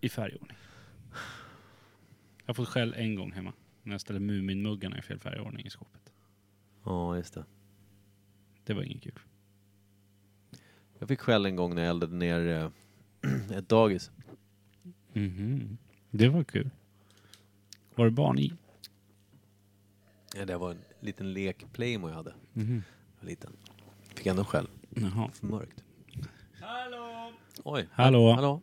i färgordning. Jag har fått skäll en gång hemma när jag ställde Muminmuggarna i fel färgordning i skåpet. Ja, just det. Det var ingen kul. Jag fick skäll en gång när jag eldade ner eh, ett dagis. Mhm. Det var kul. Var det barn i? Ja, det var en liten lek Playmo jag hade. Mhm. Jag var Liten. Fick ändå skäll. Jaha. För mörkt. Hallå! Oj. Hallå. Hallå.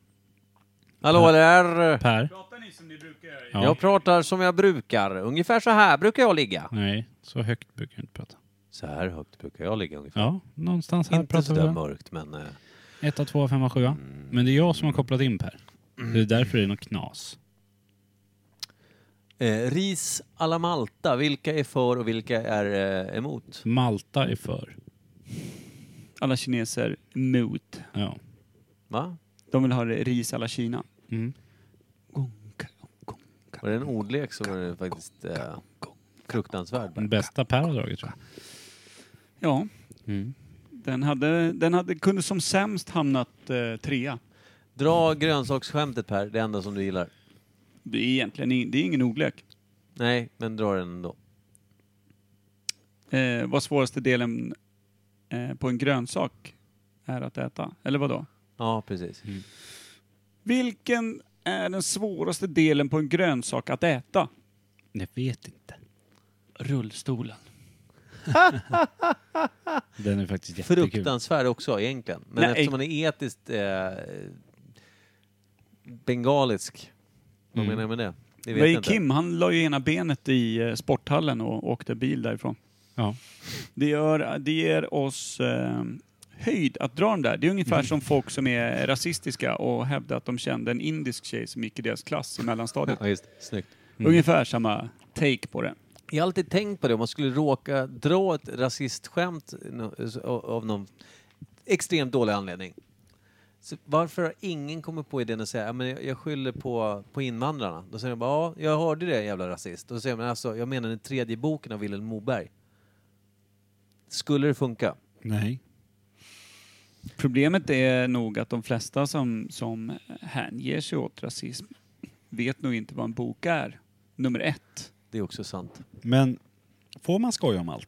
Hallå där! Per? Pratar ni som ni brukar göra? Ja. Jag pratar som jag brukar. Ungefär så här brukar jag ligga. Nej, så högt brukar jag inte prata. Så här högt brukar jag ligga ungefär. Ja, någonstans här Inte pratar så vi. där väl. mörkt men... eh, Etta, tvåa, femma, sjua. Men det är jag som har kopplat in Per. Det är därför det är något knas. Eh, ris alla Malta, vilka är för och vilka är eh, emot? Malta är för. Alla kineser mot. Ja. Va? De vill ha ris alla Kina. Mm. Var det en ordlek så var det faktiskt eh, fruktansvärd. Den bästa Per har dragit tror jag. Ja, Mm. den, hade, den hade, kunde som sämst hamnat eh, trea. Dra grönsaksskämtet Per, det enda som du gillar. Det är egentligen in, det är ingen ordlek. Nej, men dra den ändå. Eh, vad svåraste delen eh, på en grönsak är att äta? Eller vad då? Ja, precis. Vilken är den svåraste delen på en grönsak att äta? Jag vet inte. Rullstolen. Den är faktiskt jättekul. Fruktansvärd också egentligen. Men Nej. eftersom man är etiskt eh, bengalisk. Vad Mm. menar jag med det? Det vet Det jag är inte. Kim, han la ju ena benet i eh, sporthallen och åkte bil därifrån. Ja. Det, gör, det ger oss eh, höjd att dra dem där. Det är ungefär Mm. som folk som är rasistiska och hävdar att de kände en indisk tjej som gick i deras klass i mellanstadiet. Ja, Mm. just. Snyggt. Ungefär samma take på det. Jag har alltid tänkt på det, om man skulle råka dra ett rasistskämt no- av någon extremt dålig anledning. Så varför har ingen kommit på idén att säga "Ja, men jag- jag skyller på, på invandrarna? Då säger de bara ja, jag hörde det jävla rasist. Och så säger man alltså, jag menar den tredje boken av Vilhelm Moberg. Skulle det funka? Nej. Problemet är nog att de flesta som, som hänger sig åt rasism vet nog inte vad en bok är. Nummer ett. Det är också sant. Men får man skoja om allt?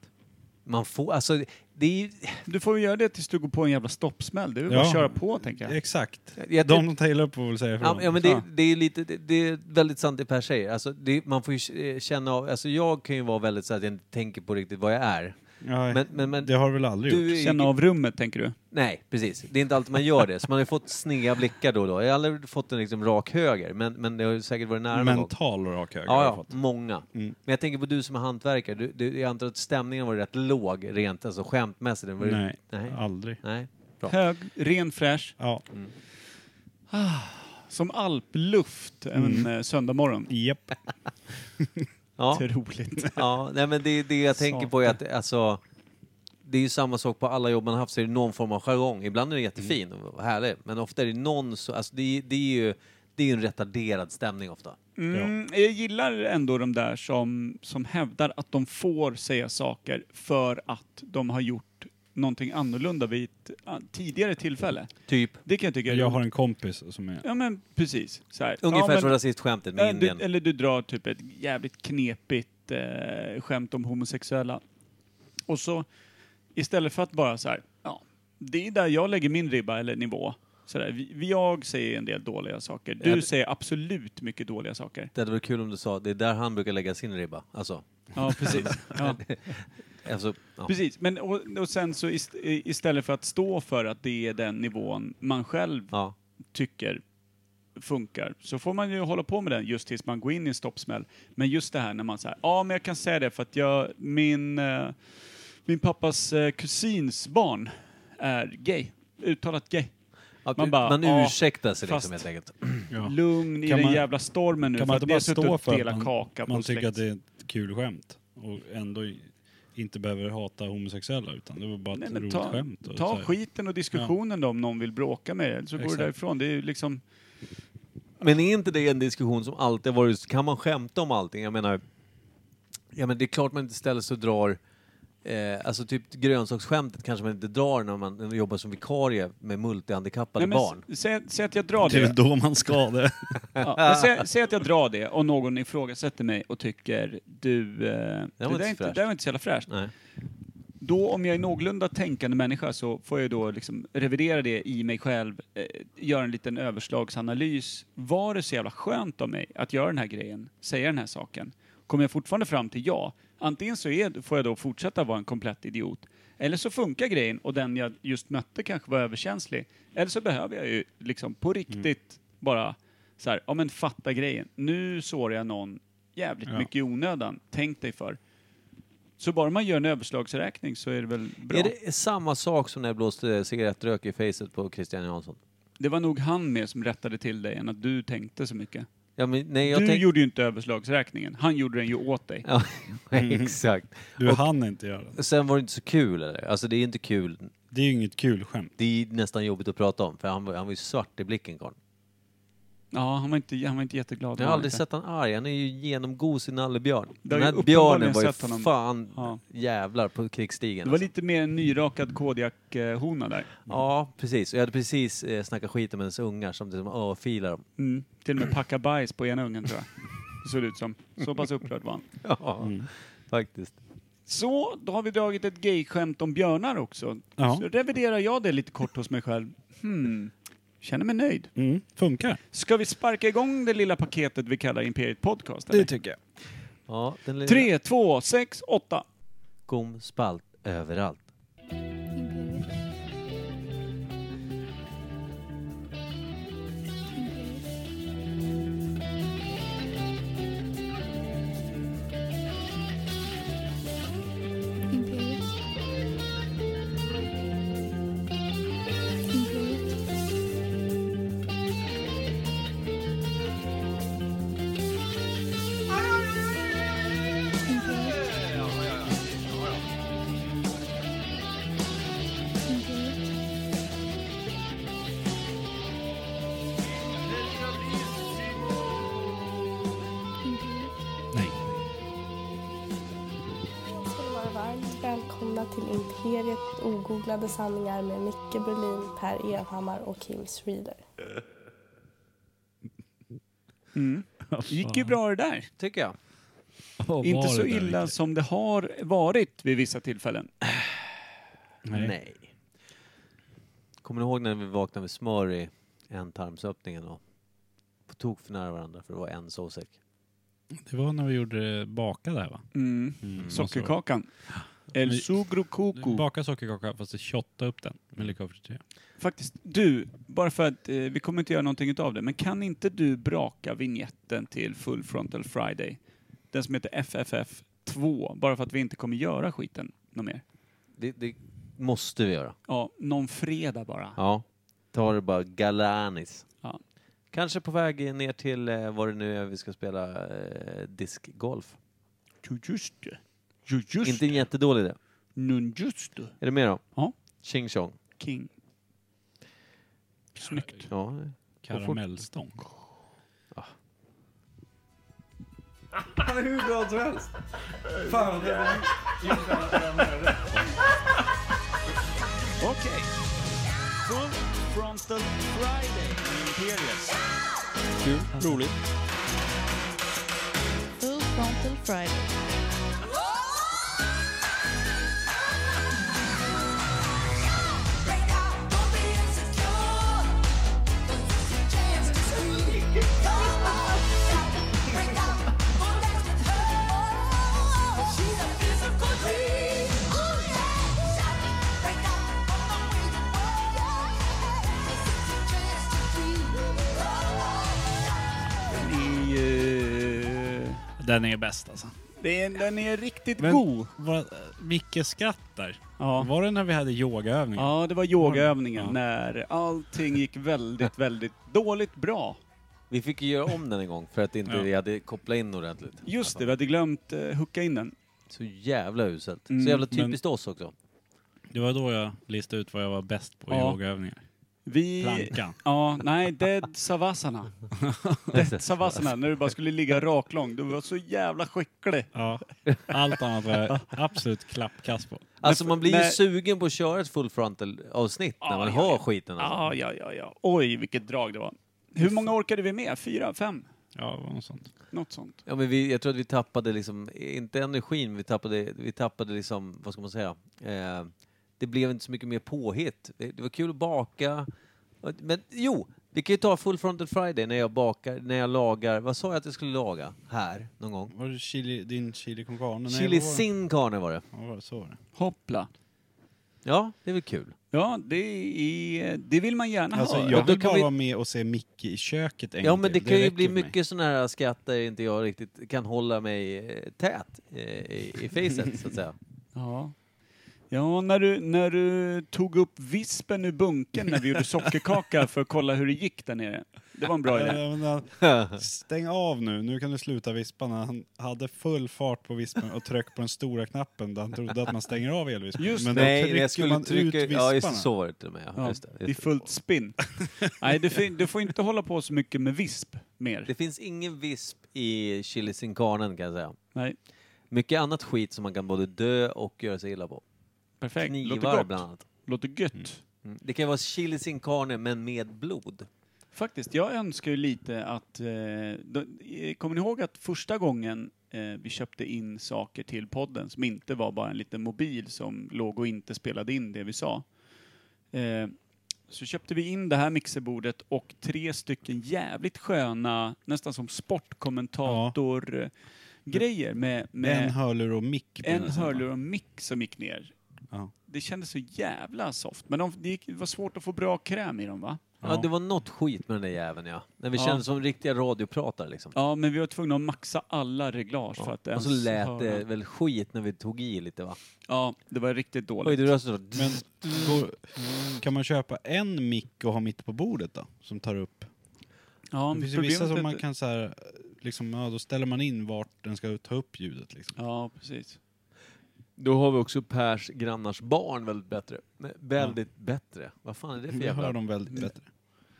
Man får, alltså det är ju... Du får ju göra det tills du går på en jävla stoppsmäll. Det är väl bara Ja. att köra på, tänker jag. Exakt. Jag- De som tar illa upp får väl säga Ja, ifrån. ja, men det, Ja. det är lite, det, det är väldigt sant det Per säger. Alltså, det, man får ju eh, känna av, alltså jag kan ju vara väldigt så att jag inte tänker på riktigt vad jag är. Ja, Men, men, men det har väl aldrig gjort. du är Känna ju, av rummet, tänker du? Nej, precis. Det är inte alltid man gör det. Så man har ju fått sneda blickar då och då. Jag har aldrig fått en liksom rak höger, men, men det har ju säkert varit nära någon gång. Mental rak höger har jag Ja, fått. Mm. ja, många. Men jag tänker på du som är hantverkare. Du, du, jag antar att stämningen var rätt låg rent alltså skämtmässigt. Den var ju- Nej, Nej. Mm. aldrig. Nej. Bra. Hög, ren, fräsch. Ja. Som alpluft en Mm. eh, söndagmorgon. Japp. Ja. Otroligt. Ja, nej men det, det jag tänker på är att alltså, det är ju samma sak på alla jobb man har haft så är det någon form av jargong. Ibland är den jättefin Mm. och härlig, men ofta är det någon så, alltså det, är- det är ju det är ju en retarderad stämning ofta. Mm, jag gillar ändå de där som, som hävdar att de får säga saker för att de har gjort någonting annorlunda vid ett ah, tidigare tillfälle. Typ. Det kan jag tycka är Jag roligt. har en kompis som är... Ja men precis. Så här. Ungefär ja, som men, rasistskämtet med Ja, du, Indien. Eller du drar typ ett jävligt knepigt eh, skämt om homosexuella. Och så istället för att bara så här, ja, det är där jag lägger min ribba eller nivå. Så där, vi- jag säger en del dåliga saker. Du Ja. säger absolut mycket dåliga saker. Det hade varit kul om du sa, det är där han brukar lägga sin ribba. Alltså, Ja, precis. Ja. alltså ja. Precis, men och, och sen så ist, i- istället för att stå för att det är den nivån man själv ja. tycker funkar, så får man ju hålla på med den just tills man går in i en stoppsmäll. Men just det här när man säger, ja men jag kan säga det för att jag, min, eh, min pappas eh, kusins barn är gay. Uttalat gay. Ja, Man man, bara, ja, ursäktar sig liksom fast- helt enkelt. Ja. Lugn i Kan den man- jävla stormen nu Kan för man att inte vi har bara suttit stå och för att delat man, kaka på man tycker att släkt. det är ett kul skämt och ändå i- inte behöver hata homosexuella utan det var bara ett Nej, men roligt ta, skämt. och så ta här. skiten och diskussionen då om någon vill bråka med er, så går Exakt. du därifrån. Det är ju liksom... Men är inte det en diskussion som alltid har varit, kan man skämta om allting? Jag menar, ja men det är klart man inte ställer sig och drar Eh, alltså typ grönsaksskämtet kanske man inte drar när man, när man jobbar som vikarie med multihandikappade Nej, men barn. s- Säg, säg att jag drar Det är väl det. då man ska det. Ja, men säg, säg att jag drar det och någon ifrågasätter mig och tycker du... eh, Det, var inte där så är inte, det fräscht. där var inte så jävla fräscht. Nej. Då om jag är någorlunda tänkande människa så får jag då liksom revidera det i mig själv, eh, göra en liten överslagsanalys. Var det så jävla skönt av mig att göra den här grejen, säga den här saken? Kommer jag fortfarande fram till ja? Antingen så är, får jag då fortsätta vara en komplett idiot, eller så funkar grejen och den jag just mötte kanske var överkänslig. Eller så behöver jag ju liksom på riktigt bara så här, ja men fatta grejen. Nu sårar jag någon jävligt Ja. mycket i onödan. Tänk dig för. Så bara man gör en överslagsräkning så är det väl bra. Är det... det samma sak som när jag blåste cigarettrök i facet på Christian Jansson? var nog han mer som rättade till dig än att du tänkte så mycket. Ja, men, nej, jag du tänk- gjorde ju inte överslagsräkningen. Han gjorde den ju åt dig. Ja, exakt. Du hann inte göra det. Sen var det inte så kul eller? Alltså det är inte kul. Det är ju inget kul skämt. Det är nästan jobbigt att prata om för han var, han var ju svart i blicken karln. Ja, han var inte, han var inte jätteglad. Jag har Han aldrig var sett han arg. Han är ju genomgod sin nallebjörn. Du Den har ju här uppenbarligen björnen var ju sett honom. fan Ja. jävlar på inte. krigsstigen. Det var alltså. lite mer en nyrakad Kodiak-hona där. Ja, precis. Och Jag hade precis eh, snackat skit om hennes ungar som liksom örfilar dem. Mm. Till och med packa bajs på ena ungen tror jag. Det såg det ut som. Så pass upprörd var han. Ja, Mm. faktiskt. Så, då har vi dragit ett gay-skämt om björnar också. Ja. Så reviderar jag det lite kort hos mig själv. Hmm. Känner mig nöjd. Mm, funkar. Ska vi sparka igång det lilla paketet vi kallar Imperiet Podcast? eller? tycker jag. Ja, den lilla- Tre, två, sex, åtta. Kom spalt överallt. Imperiet. Imperiet. Imperiet. Imperiet. Imperiet. Imperiet. Imperiet. Nej. ska ni vara varmt välkomna till Imperiet ogooglade sanningar med Micke Berlin, Per Evhammar och Kim Schreeder. gick ju bra det där. Tycker jag. Inte så illa som det har varit vid vissa tillfällen. Nej. Kommer ni ihåg när vi vaknade med smör i ändtarmsöppningen och på tok för nära varandra för det var en sovsäck? Det var när vi gjorde eh, baka där va? Mm. Mm, Sockerkakan. El Vi- sugro Alltså, coco. baka sockerkaka fast shotta upp den med likörsfrité. Faktiskt, du, bara för att eh, vi kommer inte göra någonting utav det, men kan inte du braka vignetten till Full Frontal Friday? Den som heter FFF2, bara för att vi inte kommer göra skiten något mer. Det, det måste vi göra. Ja, någon fredag bara. Ja. Ta det bara galanis. Ja. Kanske på väg ner till eh, vad det nu är vi ska spela eh, diskgolf. Jo, just det. Jo, just Inte en det. jättedålig idé. Nun, just det. Är du med då? Ja. Ching chong. King. Snyggt. Ja. Karamellstång. Okej. Full Frontal Friday. Imperius. Kul. Roligt. Full Frontal Friday. I, eh, Den är bäst alltså. det är, den är riktigt Men- god. Våra, eh, Micke skrattar. Ja. Var det när vi hade yogaövningar? Ja, det var yogaövningen Ja. när allting gick väldigt, väldigt dåligt bra. Vi fick ju göra om den en gång för att inte Ja. vi hade kopplat in ordentligt. Just det, vi hade glömt eh, hooka in den. Så jävla uselt. Mm, så jävla men- typiskt oss också. Det var då jag listade ut vad jag var bäst på i Ja. yogaövningar. Vi... Planka. Ja, nej, Dead Savasana. Dead Savasana, när du bara skulle ligga raklång. Du var så jävla skicklig. Ja, allt annat var jag absolut klappkast på. Alltså Men- man blir ju men- sugen på att köra ett full frontal avsnitt när Ja, man ja, har ja. skiten. Alltså. Ja, ja, ja, ja. Oj, vilket drag det var. Hur många orkade vi med? Fyra? Fem? Ja, det var något sånt. Något sånt. Ja, men vi, jag tror att vi tappade liksom, inte energin, vi tappade, vi tappade liksom, vad ska man säga, eh, det blev inte så mycket mer påhitt. Det, det var kul att baka. Och- Men jo, vi kan ju ta Full Frontal Friday när jag bakar, när jag lagar, vad sa jag att jag skulle laga? Här, någon gång. Var det chili, din chili con carne? Nej, Chili vad var det? sin carne var det. Ja, vad var det? så var det. Hoppla. Ja, det är väl kul. Ja, det, är, det vill man gärna Alltså, höra. jag då vill kan bara vi- vara med och se Micke i köket en Ja, gång men det till. kan ju räcker bli för mig. mycket sådana här skatt där inte jag riktigt kan hålla mig eh, tät eh, i, i facet, så att säga. Ja. Ja, när du, när du tog upp vispen ur bunken när vi gjorde sockerkaka för att kolla hur det gick där nere. Det var en bra idé. Ja, men, ja, Stäng av nu, nu kan du sluta vispa. när Han hade full fart på vispen och tryckte på den stora knappen där han trodde att man stänger av elvispen. Just men Nej, då jag trycker skulle man trycka... ut Ja, just det, visparna. så var det till och med. Ja, Ja, just det, just det är fullt spinn. Nej, du, fin- du får inte hålla på så mycket med visp mer. Det finns ingen visp i chili sin carnen kan jag säga. Nej, Mycket annat skit som man kan både dö och göra sig illa på. perfekt. Knivar Låter bland gott. annat. Låter gött. Mm. Det kan vara chili sin carne men med blod. Faktiskt, jag önskar ju lite att... Eh, då, eh, kommer ni ihåg att första gången eh, vi köpte in saker till podden som inte var bara en liten mobil som låg och inte spelade in det vi sa? Eh, så köpte vi in det här mixerbordet och tre stycken jävligt sköna, nästan som sportkommentator-grejer med, En med hörlur och mick. på en, den sidan. hörlur och mick som gick ner. Ja. Det kändes så jävla soft, men de, det gick, det var svårt att få bra kräm i dem va? Ja. Ja. det var något skit med den där jäveln ja. När vi Ja. kände som riktiga radiopratare liksom. Ja, men vi var tvungna att maxa alla reglage för att Och ens så lät höra. det väl skit när vi tog i lite va? Ja, det var riktigt Oj, dåligt. du röstade då. Men då, kan man köpa en mick och ha mitt på bordet då? Som tar upp? Ja, det men finns ju vissa problemet som är- man kan så här, liksom, ja, då ställer man in vart den ska ta upp ljudet liksom. Ja, precis. Då har vi också Pers grannars barn väldigt bättre. Nej, väldigt bättre. Vad fan är det för Det hör jävla... de väldigt bättre.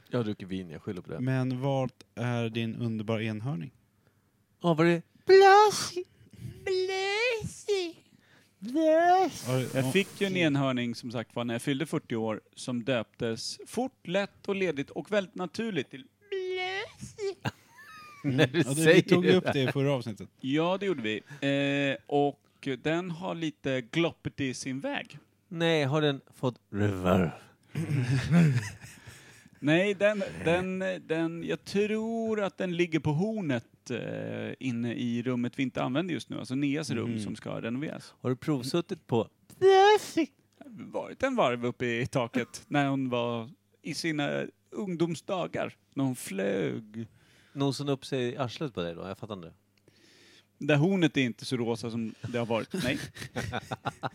Jag dricker vin, jag skyller på det. Men vart är din underbara enhörning? Ja, var det... Har- Jag ja, fick ju en enhörning som sagt var när jag fyllde 40 år som döptes fort, lätt och ledigt och väldigt naturligt till ja, det, När du vi Mm. säger tog ju det. upp det i förra avsnittet. Ja, det gjorde vi. Eh, och den har lite gloppet i sin väg. Nej, har den fått reverb? Nej, den, den, den, jag tror att den ligger på hornet eh, inne i rummet vi inte använder just nu, alltså Neas Mhm. rum som ska renoveras. Har du provsuttit på? varit en varv uppe i taket när hon var i sina ungdomsdagar, när hon flög. Nosen upp sig i arslet på dig då? Jag fattar inte. Där hornet är inte så rosa som det har varit. Nej.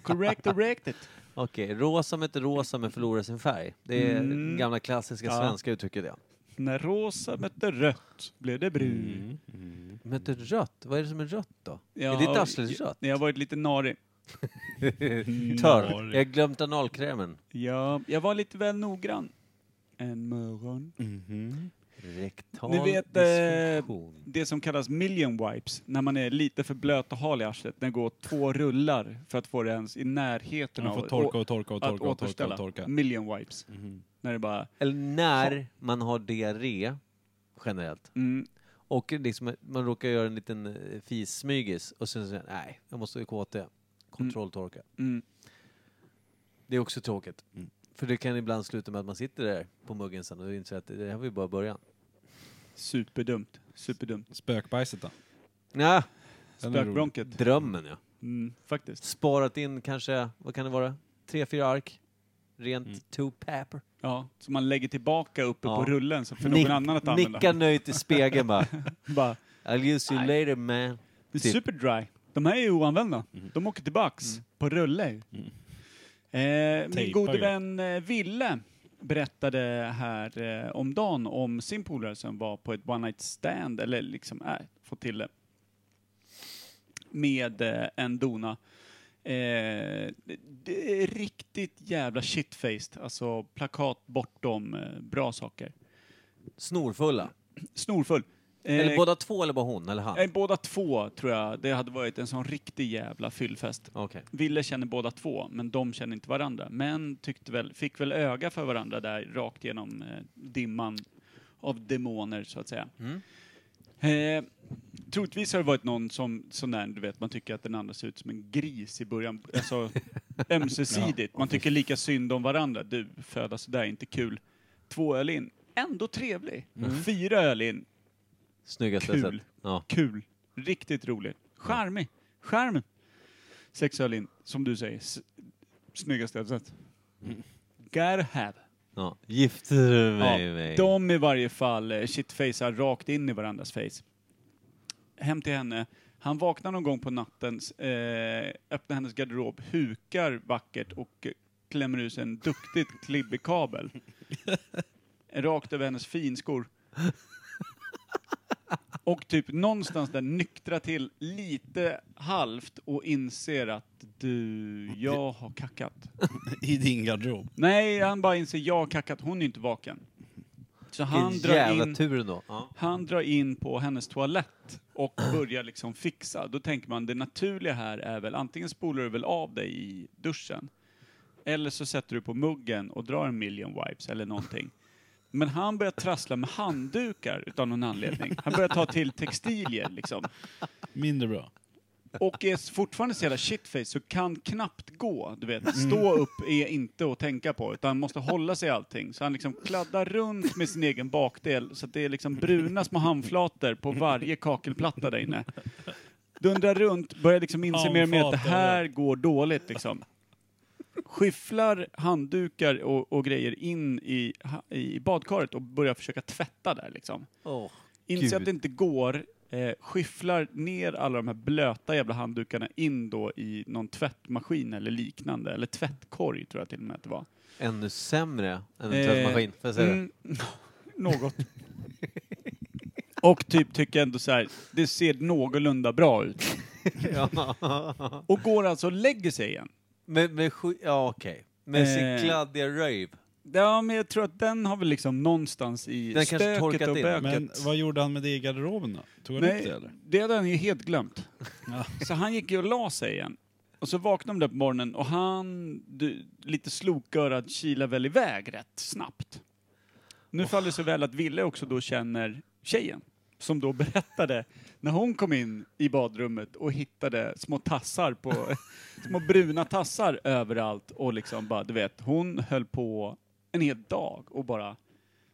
Correct, corrected. Okej, rosa med inte rosa men förlorar sin färg. Det är Mm. gamla klassiska Ja. svenska uttrycket det. När rosa mötte rött blev det brun. Mm. Men inte rött? Vad är det som är rött då? Jag är ditt har- arsle rött? Jag har varit lite narig. Mm. Törr? Jag har glömt analkrämen. Jag, jag var lite väl noggrann. En morgon. Mm-hmm. Mhm. Rektal Ni vet, eh, dysfunktion. det som kallas million wipes, när man är lite för blöt och hal i arslet. Den går två rullar för att få det ens i närheten Man av får torka och torka och att torka och torka återställa. Mm. och torka. Million wipes. När det bara... Eller när man har diarré, generellt, Mm, och liksom, man råkar göra en liten eh, fissmygis och sen säger man, nej, jag måste KT. Kontrolltorka. mm. Det är också tråkigt. För det kan ibland sluta med att man sitter där på muggen sen och inser att det här var ju bara början. Superdumt. Superdumt. Spökbajset då? Ja, Den är rolig. Spökbronket. drömmen ja. Mm, faktiskt. Sparat in kanske, vad kan det vara? Tre, fyra ark. Rent two paper. Ja, så man lägger tillbaka uppe Ja. på rullen så för Nick- någon annan att använda. Nicka nöjt i spegeln bara. Bara, I'll use you later man. det är Typ. superdry. De här är ju oanvända. De åker tillbaks på rulle. Eh, min Tejpar gode ju. vän eh, Ville berättade här eh, om dagen om sin polare som var på ett one night stand, eller liksom, äh, fått till det. Med eh, en dona. Eh, det är riktigt jävla shitfaced. Alltså plakat bortom eh, bra saker. Snorfulla. Snorfull. Eh, Eller båda två eller bara hon eller han? eh, båda två tror jag. Det hade varit en sån riktig jävla fyllfest. Okej. Ville känner båda två, men de känner inte varandra. Men tyckte väl, fick väl öga för varandra där rakt genom eh, dimman av demoner, så att säga. Mm. Eh, troligtvis har det varit någon som, sån där, du vet, man tycker att den andra ser ut som en gris i början. Alltså ömsesidigt. Man tycker lika synd om varandra. Du, föda sådär, inte kul. Två öl in. Ändå trevlig. Fyra öl in. Snyggaste Kul. sätt. Ja. Kul. Riktigt rolig. Charmig. Charm. Sex öl in, som du säger. S- snyggaste jag sett. Gotta have. ja. Gifter du Ja, mig mig? de i varje fall eh, shitfacear rakt in i varandras face. Hem till henne. Han vaknar någon gång på natten, s- eh, öppnar hennes garderob, hukar vackert och eh, klämmer ut en duktigt klibbig kabel. rakt över hennes finskor. Och typ någonstans där nyktra till lite halvt och inser att du, jag har kackat. I din garderob. Nej, han bara inser jag har kackat, hon är inte vaken. Så han Vilken jävla drar, in, tur ändå. Ja. han drar in på hennes toalett och börjar liksom fixa. Då tänker man det naturliga här är väl antingen spolar du väl av dig i duschen eller så sätter du på muggen och drar en million wipes eller någonting. Men han börjar trassla med handdukar utan någon anledning. Han börjar ta till textilier liksom Mindre bra. och är fortfarande så jävla shitface så kan knappt gå. Du vet, stå upp är inte att tänka på utan måste hålla sig i allting. Så han liksom kladdar runt med sin egen bakdel så att det är liksom bruna små handflator på varje kakelplatta där inne. Dundrar runt, börjar liksom inse mer och mer att det här går dåligt liksom. Skyfflar handdukar och, och grejer in i, ha- i badkaret och börjar försöka tvätta där liksom. Åh, Inser att Gud. det inte går, eh, skyfflar ner alla de här blöta jävla handdukarna in då i någon tvättmaskin eller liknande, eller tvättkorg tror jag till och med att det var. Ännu sämre än en Eh, tvättmaskin. Får jag säga det? Mm, något. Och typ tycker ändå så här, det ser någorlunda bra ut. mm. Ja. Och går alltså och lägger sig igen. Med, med sju- ja okej. Med Eh. sin kladdiga röv. Ja, men jag tror att den har väl liksom någonstans i Den kanske stöket torkat och in. böket. Men vad gjorde han med det i garderoben då? Tog han upp det Nej, eller? det hade han ju helt glömt. Ja. Så han gick ju och la sig igen. Och så vaknade de där på morgonen och han, du, lite slokörad, kilar väl iväg rätt snabbt. Nu faller det så väl att Ville också då känner tjejen. Som då berättade när hon kom in i badrummet och hittade små tassar på, små bruna tassar överallt och liksom bara, du vet, hon höll på en hel dag och bara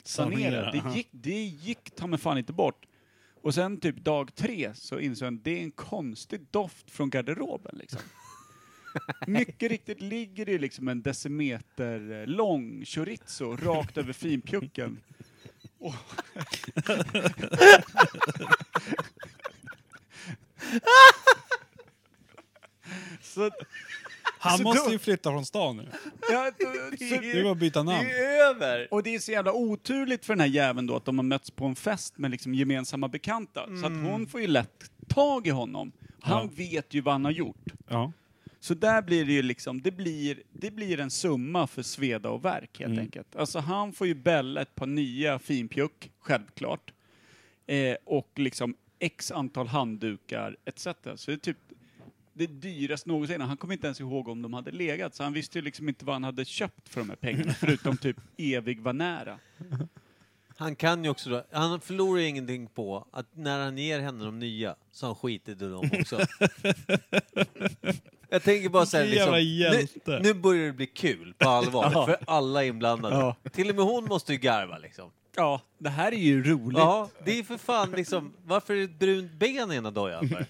sanera. Sanera, Det aha. gick, det gick ta mig fan inte bort. Och sen typ dag tre så insåg han det är en konstig doft från garderoben liksom. Mycket riktigt ligger det liksom en decimeter eh, lång chorizo rakt över finpjucken. Och så, att- Han Så måste då- ju flytta från stan nu. ja, Det är bara så, att byta namn. över! och det är så jävla oturligt för den här jäveln då att de har mötts på en fest med liksom gemensamma bekanta. Så att hon får ju lätt tag i honom. Han vet ju vad han har gjort. Ja. Så där blir det ju liksom, det blir, det blir en summa för sveda och verk helt enkelt. Alltså han får ju bälla ett par nya finpjuck, självklart. Eh, och liksom x antal handdukar etc. Så det är typ det dyraste någonsin. Han kommer inte ens ihåg om de hade legat, så han visste ju liksom inte vad han hade köpt för de här pengarna, förutom typ evig var nära. Han kan ju också då, han förlorar ju ingenting på att när han ger henne de nya så har han skitit i dem också. Jag tänker bara såhär Vilken liksom, jävla nu, hjälte. nu börjar det bli kul på allvar för alla inblandade. Till och med hon måste ju garva liksom. Ja, det här är ju roligt. Ja, det är för fan liksom, varför är det ett brunt ben i ena dojan för?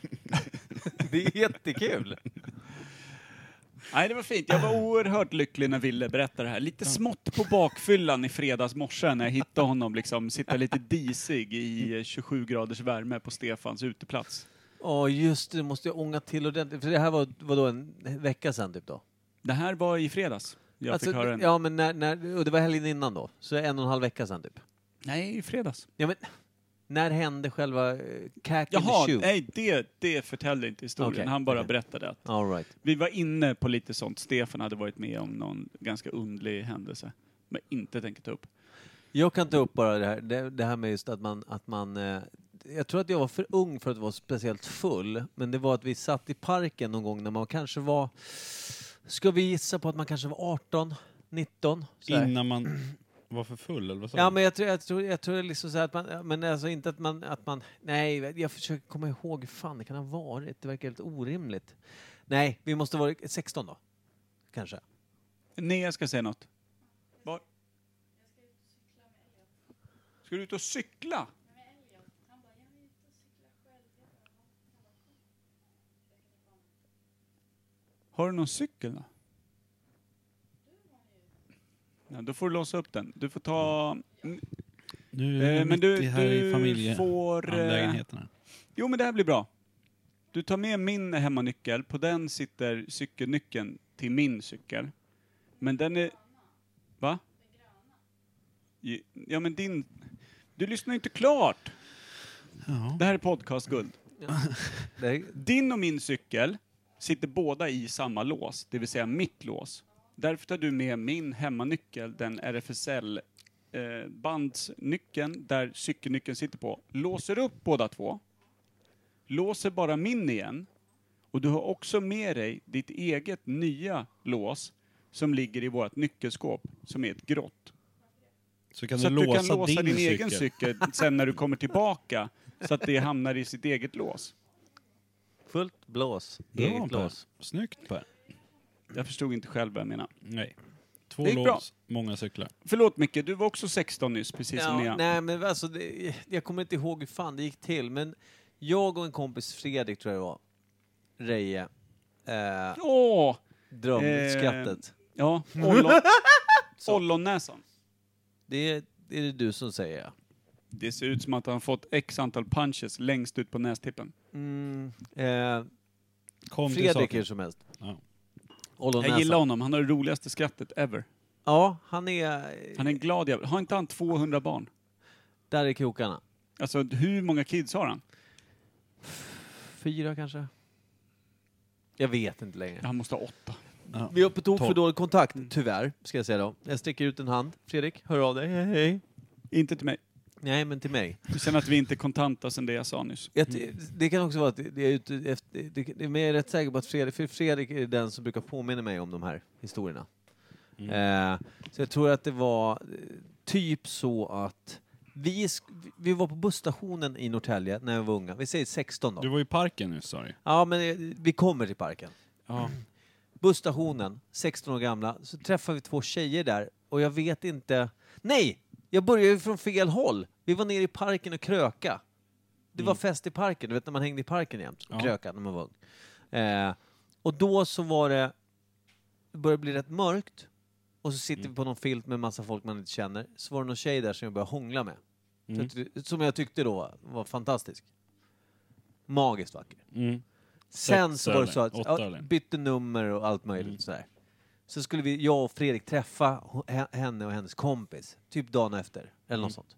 Det är jättekul. Nej, det var fint. Jag var oerhört lycklig när Ville berättade det här. Lite smått på bakfyllan i fredags morse när jag hittade honom liksom sitta lite disig i eh, 27 graders värme på Stefans uteplats. Ja just det, måste jag ånga till ordentligt. För det här var vadå, en vecka sedan typ då? Det här var i fredags. Jag Alltså, fick höra den. ja men när, när, och det var helgen innan då, så en och en halv vecka sedan typ. Nej, i fredags. Ja men, När hände själva eh, cack in Jaha, the shoe? nej det, det förtäller inte historien. Okej, Han bara okej. berättade att All right. vi var inne på lite sånt. Stefan hade varit med om någon ganska underlig händelse. Men inte tänker ta upp. Jag kan ta upp bara det här, det, det här med just att man, att man... eh, Jag tror att jag var för ung för att vara speciellt full, men det var att vi satt i parken någon gång när man kanske var... Ska vi gissa på att man kanske var 18, 19? så här? Innan man var för full eller vad sa Ja, du? men jag tror, jag tror, jag tror det är liksom så här att man, ja, men alltså inte att man, att man, nej, jag försöker komma ihåg hur fan det kan ha varit, det verkar helt orimligt. Nej, vi måste vara 16 då, kanske. Nea ska säga något. Var? Ska du ut och cykla? Har du någon cykel då? Ja, då får du låsa upp den. Du får ta... Nu Eh, är men men du- du, här du i familjeanlägenheterna. får, eh, Jo, men det här blir bra. Du tar med min hemmanyckel. På den sitter cykelnyckeln till min cykel. Men den är... Va? Ju- Ja, men din... Du lyssnar ju inte klart! Ja. Det här är podcastguld. Det, Din och min cykel sitter båda i samma lås, det vill säga mitt lås. Därför tar du med min hemmanyckel, den RFSL-bandsnyckeln eh, där cykelnyckeln sitter på. Låser upp båda två. Låser bara min igen. Och du har också med dig ditt eget nya lås som ligger i vårt nyckelskåp, som är ett grått. Så kan Så du att du låsa, kan låsa din, din, cykel. egen cykel sen när du kommer tillbaka, så att det hamnar i sitt eget lås. fullt blås, Bra eget Per. blås. Snyggt Per. Jag förstod inte själv vad jag menade. Nej. Två Det lås, gick bra. många cyklar. Förlåt Micke, du var också 16 nyss, precis som Ja, jag. nej, men alltså, det, jag kommer inte ihåg hur fan det gick till, men jag och en kompis, Fredrik tror jag det var, Reje, eh, Åh! drömskrattet. Ja, ollon, Så. ollonnäsan. Det, är- det är det du som säger, ja. Det ser ut som att han fått x antal punches längst ut på nästippen. Mm, eh, Kom till Fredrik saken. hur som helst. Ja. Ollonnäsa. Jag gillar honom, han har det roligaste skrattet ever. Ja, han är... eh, Han är en glad jävel. Har inte han 200 barn? Där är krokarna. Alltså hur många kids har han? Fyra kanske? Jag vet inte längre. Han måste ha åtta. Ja. Vi har på tok Tolv. för dålig kontakt, tyvärr, ska jag säga då. Jag sträcker ut en hand. Fredrik, hör av dig. Hej, hej. Inte till mig. Nej, men till mig. Du känner att vi inte är kontanta sen det jag sa nyss. Jag, det kan också vara att det är ute efter... Det, det, men jag är rätt säker på att Fredrik, för Fredrik är den som brukar påminna mig om de här historierna. Eh, så jag tror att det var eh, typ så att vi, sk- vi var på busstationen i Norrtälje när jag var unga. Vi säger 16 då. Du var i parken nu, sorry. Ja, men eh, vi kommer till parken. Ja. Busstationen, 16 år gamla, så träffar vi två tjejer där och jag vet inte... Nej! Jag började ju från fel håll. Vi var nere i parken och kröka. Det var fest i parken, du vet när man hängde i parken jämt och Mm. Ja. kröka när man var ung. Eh, och då så var det... Det började bli rätt mörkt och så Mm. sitter vi på någon filt med massa folk man inte känner. Så var det någon tjej där som jag började hångla med. Mm. Så att- Som jag tyckte då var fantastisk. Magiskt vacker. Mm. Sen Sex så var det så öl, att åtta Mm. ja, öl. bytte nummer och allt möjligt sådär. Så skulle vi, jag och Fredrik träffa ho- he- henne och hennes kompis, typ dagen efter, eller något Mm. sånt.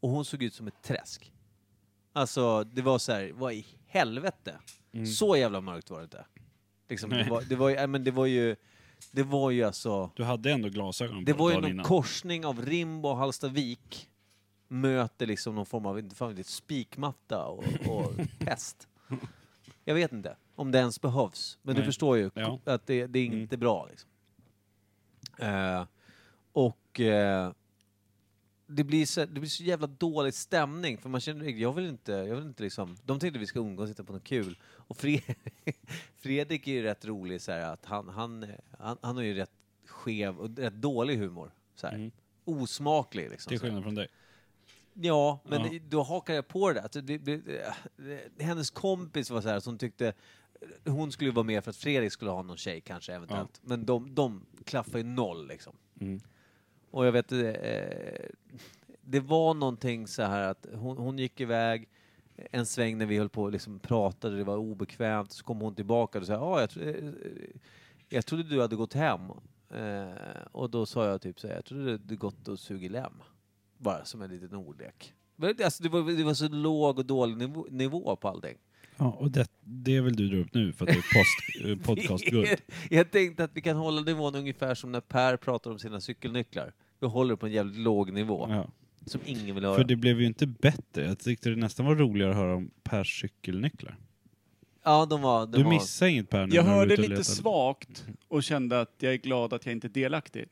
Och hon såg ut som ett träsk. Alltså, det var så här, vad i helvete? Så jävla mörkt var det inte. Liksom, det, Mm. Nej. var, det, var, ju- nej, men det var ju, det var ju alltså... Du hade ändå glasögon Det på var ju dagen någon innan. korsning av Rimbo och Hallstavik möter liksom någon form av inte fan vet jag, spikmatta och, och pest. Jag vet inte om det ens behövs, men du Nej. förstår ju Ja. Mm. att det, det är inte bra. Liksom. Eh, och eh, det, blir så, det blir så jävla dålig stämning för man känner jag vill inte, jag vill inte liksom, de tänkte vi ska umgås och sitta på något kul. Och Fredrik, Fredrik är ju rätt rolig så här att han, han, eh, han, han har ju rätt skev och rätt dålig humor. Så här. Osmaklig liksom. Till så här. skillnad från dig. Ja, men Ja. det- då hakar jag på det. där. Alltså, det, det, det- hennes kompis var så här som tyckte hon skulle vara med för att Fredrik skulle ha någon tjej kanske eventuellt. Men de, de klaffar ju noll liksom. Och jag vet, eh, det var någonting så här att hon, hon gick iväg en sväng när vi höll på och liksom pratade, det var obekvämt, så kom hon tillbaka och sa ah, jag, tro- eh, jag trodde du hade gått hem. Eh, och då sa jag typ så här, jag trodde du hade gått och sugit lem. Bara som en liten ordlek. Men Alltså, det, var, det var så låg och dålig nivå, nivå på allting. Ja, och det, det vill du dra upp nu för att du är post, eh, podcastguld. Jag tänkte att vi kan hålla nivån ungefär som när Per pratar om sina cykelnycklar. Vi håller på en jävligt låg nivå Ja. som ingen vill höra. För det blev ju inte bättre. Jag tyckte det nästan var roligare att höra om Pers cykelnycklar. Ja, de var... De Du var... missar inget Per nu Jag när du är hörde ute och lite letar. svagt och kände att jag är glad att jag inte är delaktig.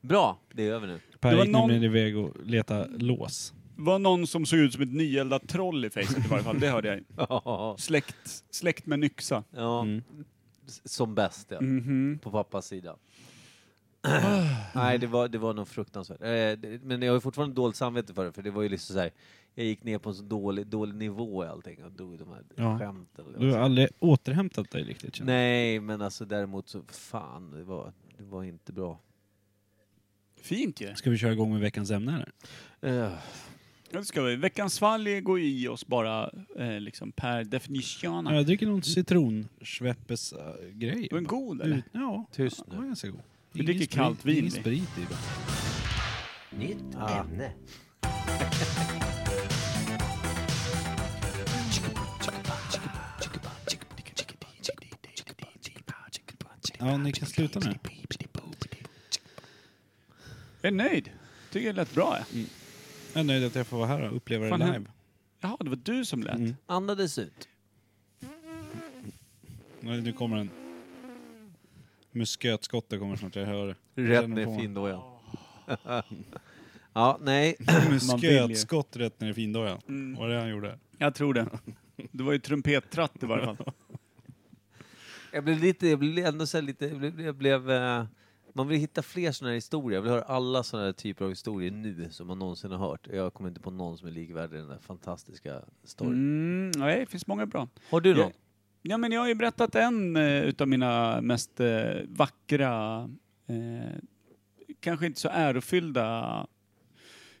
Bra, det är över nu. Per Det var gick någon- nämligen iväg och letade lås. Det var någon som såg ut som ett nyeldat troll i facet i varje fall, det hörde jag. ja, Släkt, släkt med Nyxa. Mm. s- som bäst ja. Mhm. På pappas sida. Nej, det var, det var nog fruktansvärt. Eh, det- Men jag har ju fortfarande dåligt samvete för det, för det var ju liksom så här. Jag gick ner på en så dålig, dålig nivå i allting och drog de här Ja. skämten. Det var Du så- har aldrig återhämtat dig riktigt känner jag. Nej, men alltså däremot så, fan, det var, det var inte bra. Fint ju. Ska vi köra igång med veckans ämne eller? Eh, Ja, det ska vi. Veckans svalg går ju i oss bara eh, liksom per definition. Jag dricker någon citronschweppes äh, grej. Var den god Typ, eller? Ut- Ja, Tyst den var nu. ganska god. Vi dricker kallt vin, Ingen vi. sprit i bara. Nytt ämne. Ja, ni kan sluta nu. Jag är nöjd. Tycker det lät bra. ja. Mm. Jag är nöjd att jag får vara här och uppleva Fan, det här- live. Jaha, det var du som lät. Mm. Andades ut. Nej, nu kommer en... Muskötskottet kommer snart, jag hör det. Rätt Känner ner på. findojan. ja, nej. Muskötskott rätt ner i findojan. Mm. Var det han gjorde? Jag tror det. Det var ju trumpettratt i varje fall. Jag blev lite, jag blev ändå så här lite, jag blev, jag blev eh, man vill hitta fler sådana här historier. Jag vill höra alla sådana här typer av historier nu som man någonsin har hört. Jag kommer inte på någon som är likvärdig den där fantastiska storyn. Mm, nej, det finns många bra. Har du någon? Jag, ja, men jag har ju berättat en eh, utav mina mest eh, vackra, eh, kanske inte så ärofyllda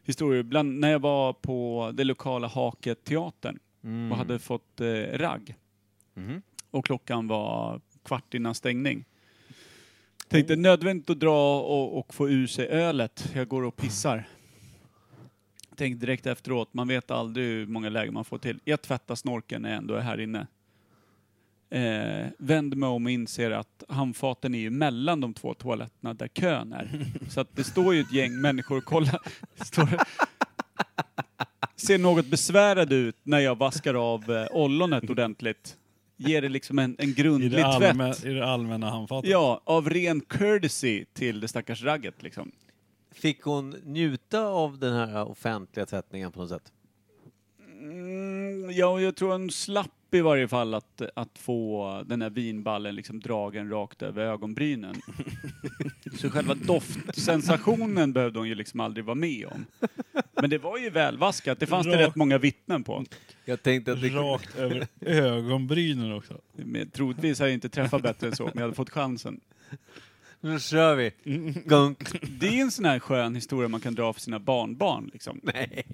historier. Bland, när jag var på det lokala Haket teatern Mm. och hade fått eh, ragg Mhm. och klockan var kvart innan stängning. Mm. Tänkte nödvändigt att dra och, och få ur sig ölet. Jag går och pissar. Tänkte direkt efteråt, man vet aldrig hur många lägen man får till. Jag tvättar snorken när jag ändå är här inne. Eh, vänder mig om och inser att handfaten är ju mellan de två toaletterna där kön är. Så att det står ju ett gäng människor och kollar. Står, ser något besvärad ut när jag vaskar av eh, ollonet ordentligt. Ger det liksom en, en I grundlig det, tvätt. allmä, I det allmänna handfatet? Ja, av ren courtesy till det stackars ragget liksom. Fick hon njuta av den här offentliga tvättningen på något sätt? Mm, ja, jag tror en slapp i varje fall att, att få den här vinballen liksom dragen rakt över ögonbrynen. Så själva doftsensationen behövde hon ju liksom aldrig vara med om. Men det var ju välvaskat, det fanns det Rakt- rätt många vittnen på. Jag tänkte att det Rakt över ögonbrynen också. Men troligtvis hade jag inte träffat bättre än så, men jag hade fått chansen. Nu kör vi! Gunk! Det är en sån här skön historia man kan dra för sina barnbarn liksom. Nej.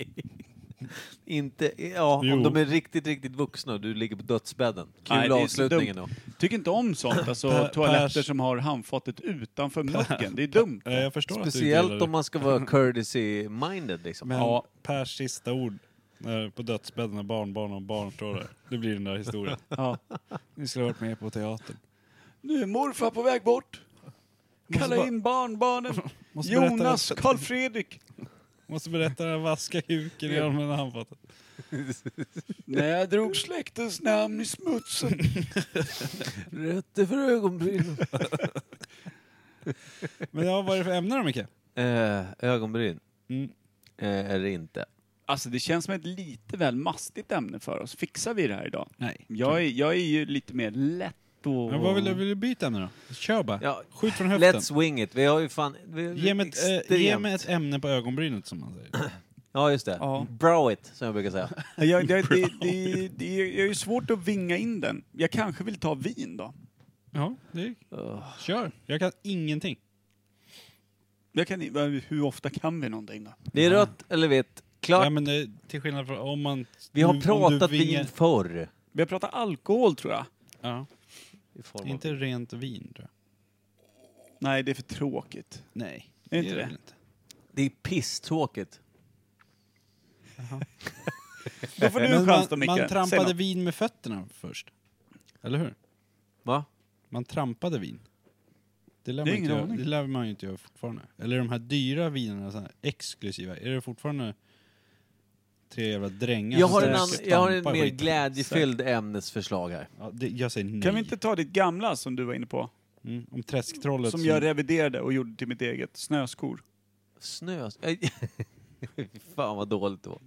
Inte, ja, Jo. om de är riktigt, riktigt vuxna och du ligger på dödsbädden. Kul Nej, det är så avslutningen då. dumt. Tycker inte om sånt, alltså Per- toaletter Pers- som har handfatet utanför mucken. Det är dumt. Eh, Jag förstår att du Speciellt gillar om det. man ska vara courtesy-minded liksom. Men Ja. Pers sista ord när, på dödsbädden när barnbarn och barn står där. Det blir den där historien. Ja. Ni skulle ha varit med på teatern. Nu är morfar på väg bort. måste Kalla bara- in barnbarnen. Måste berätta- Jonas, Karl Fredrik. Måste berätta den här vaska kuken i allmänna handfatet. När jag drog släktens namn i smutsen. Rötter för ögonbryn. Men ja, vad är det för ämne då Micke? eh, ögonbryn. Mm. Eh, eller inte. Alltså det känns som ett lite väl mastigt ämne för oss. Fixar vi det här idag? Nej. Jag är, jag är ju lite mer lätt och... Men vad vill du, vill du byta ämne då? Kör bara. Ja, Skjut från höften. Let's swing it. Vi har ju fan... Vi, Ge mig, ett, eh, ge extremt- mig ett ämne på ögonbrynet som man säger. Ja, just det. Ja. Brow it, som jag brukar säga. Jag, jag, det, det, det, det är ju svårt att vinga in den. Jag kanske vill ta vin då. Ja, det Ugh. Kör. Jag kan ingenting. Jag kan, hur ofta kan vi någonting då? Det är rött eller vitt. Klart. Ja, men det, till skillnad från om man... vi har om du pratat vingar- vin förr. Vi har pratat alkohol tror jag. Ja. I form av- Inte rent vin tror jag. Nej, det är för tråkigt. Nej. Är inte det? väl inte. Det är pisstråkigt. Då får du en Men chans då man, Micke. man Säg trampade något. vin med fötterna först. Eller hur? Va? Man trampade vin. Det lär, Det är man inte ingen göra. aning. det lär man ju inte göra fortfarande. Eller de här dyra vinerna, så här, exklusiva. Är det fortfarande tre jävla drängar Jag som har, en står och annan, jag har en stampar mer skiten? glädjefylld ämnesförslag här. Ja, det, jag säger nej. Kan vi inte ta ditt gamla som du var inne på? mm, om träsktrollet Som jag reviderade och gjorde till mitt eget. Snöskor. Snö... Fan vad dåligt då.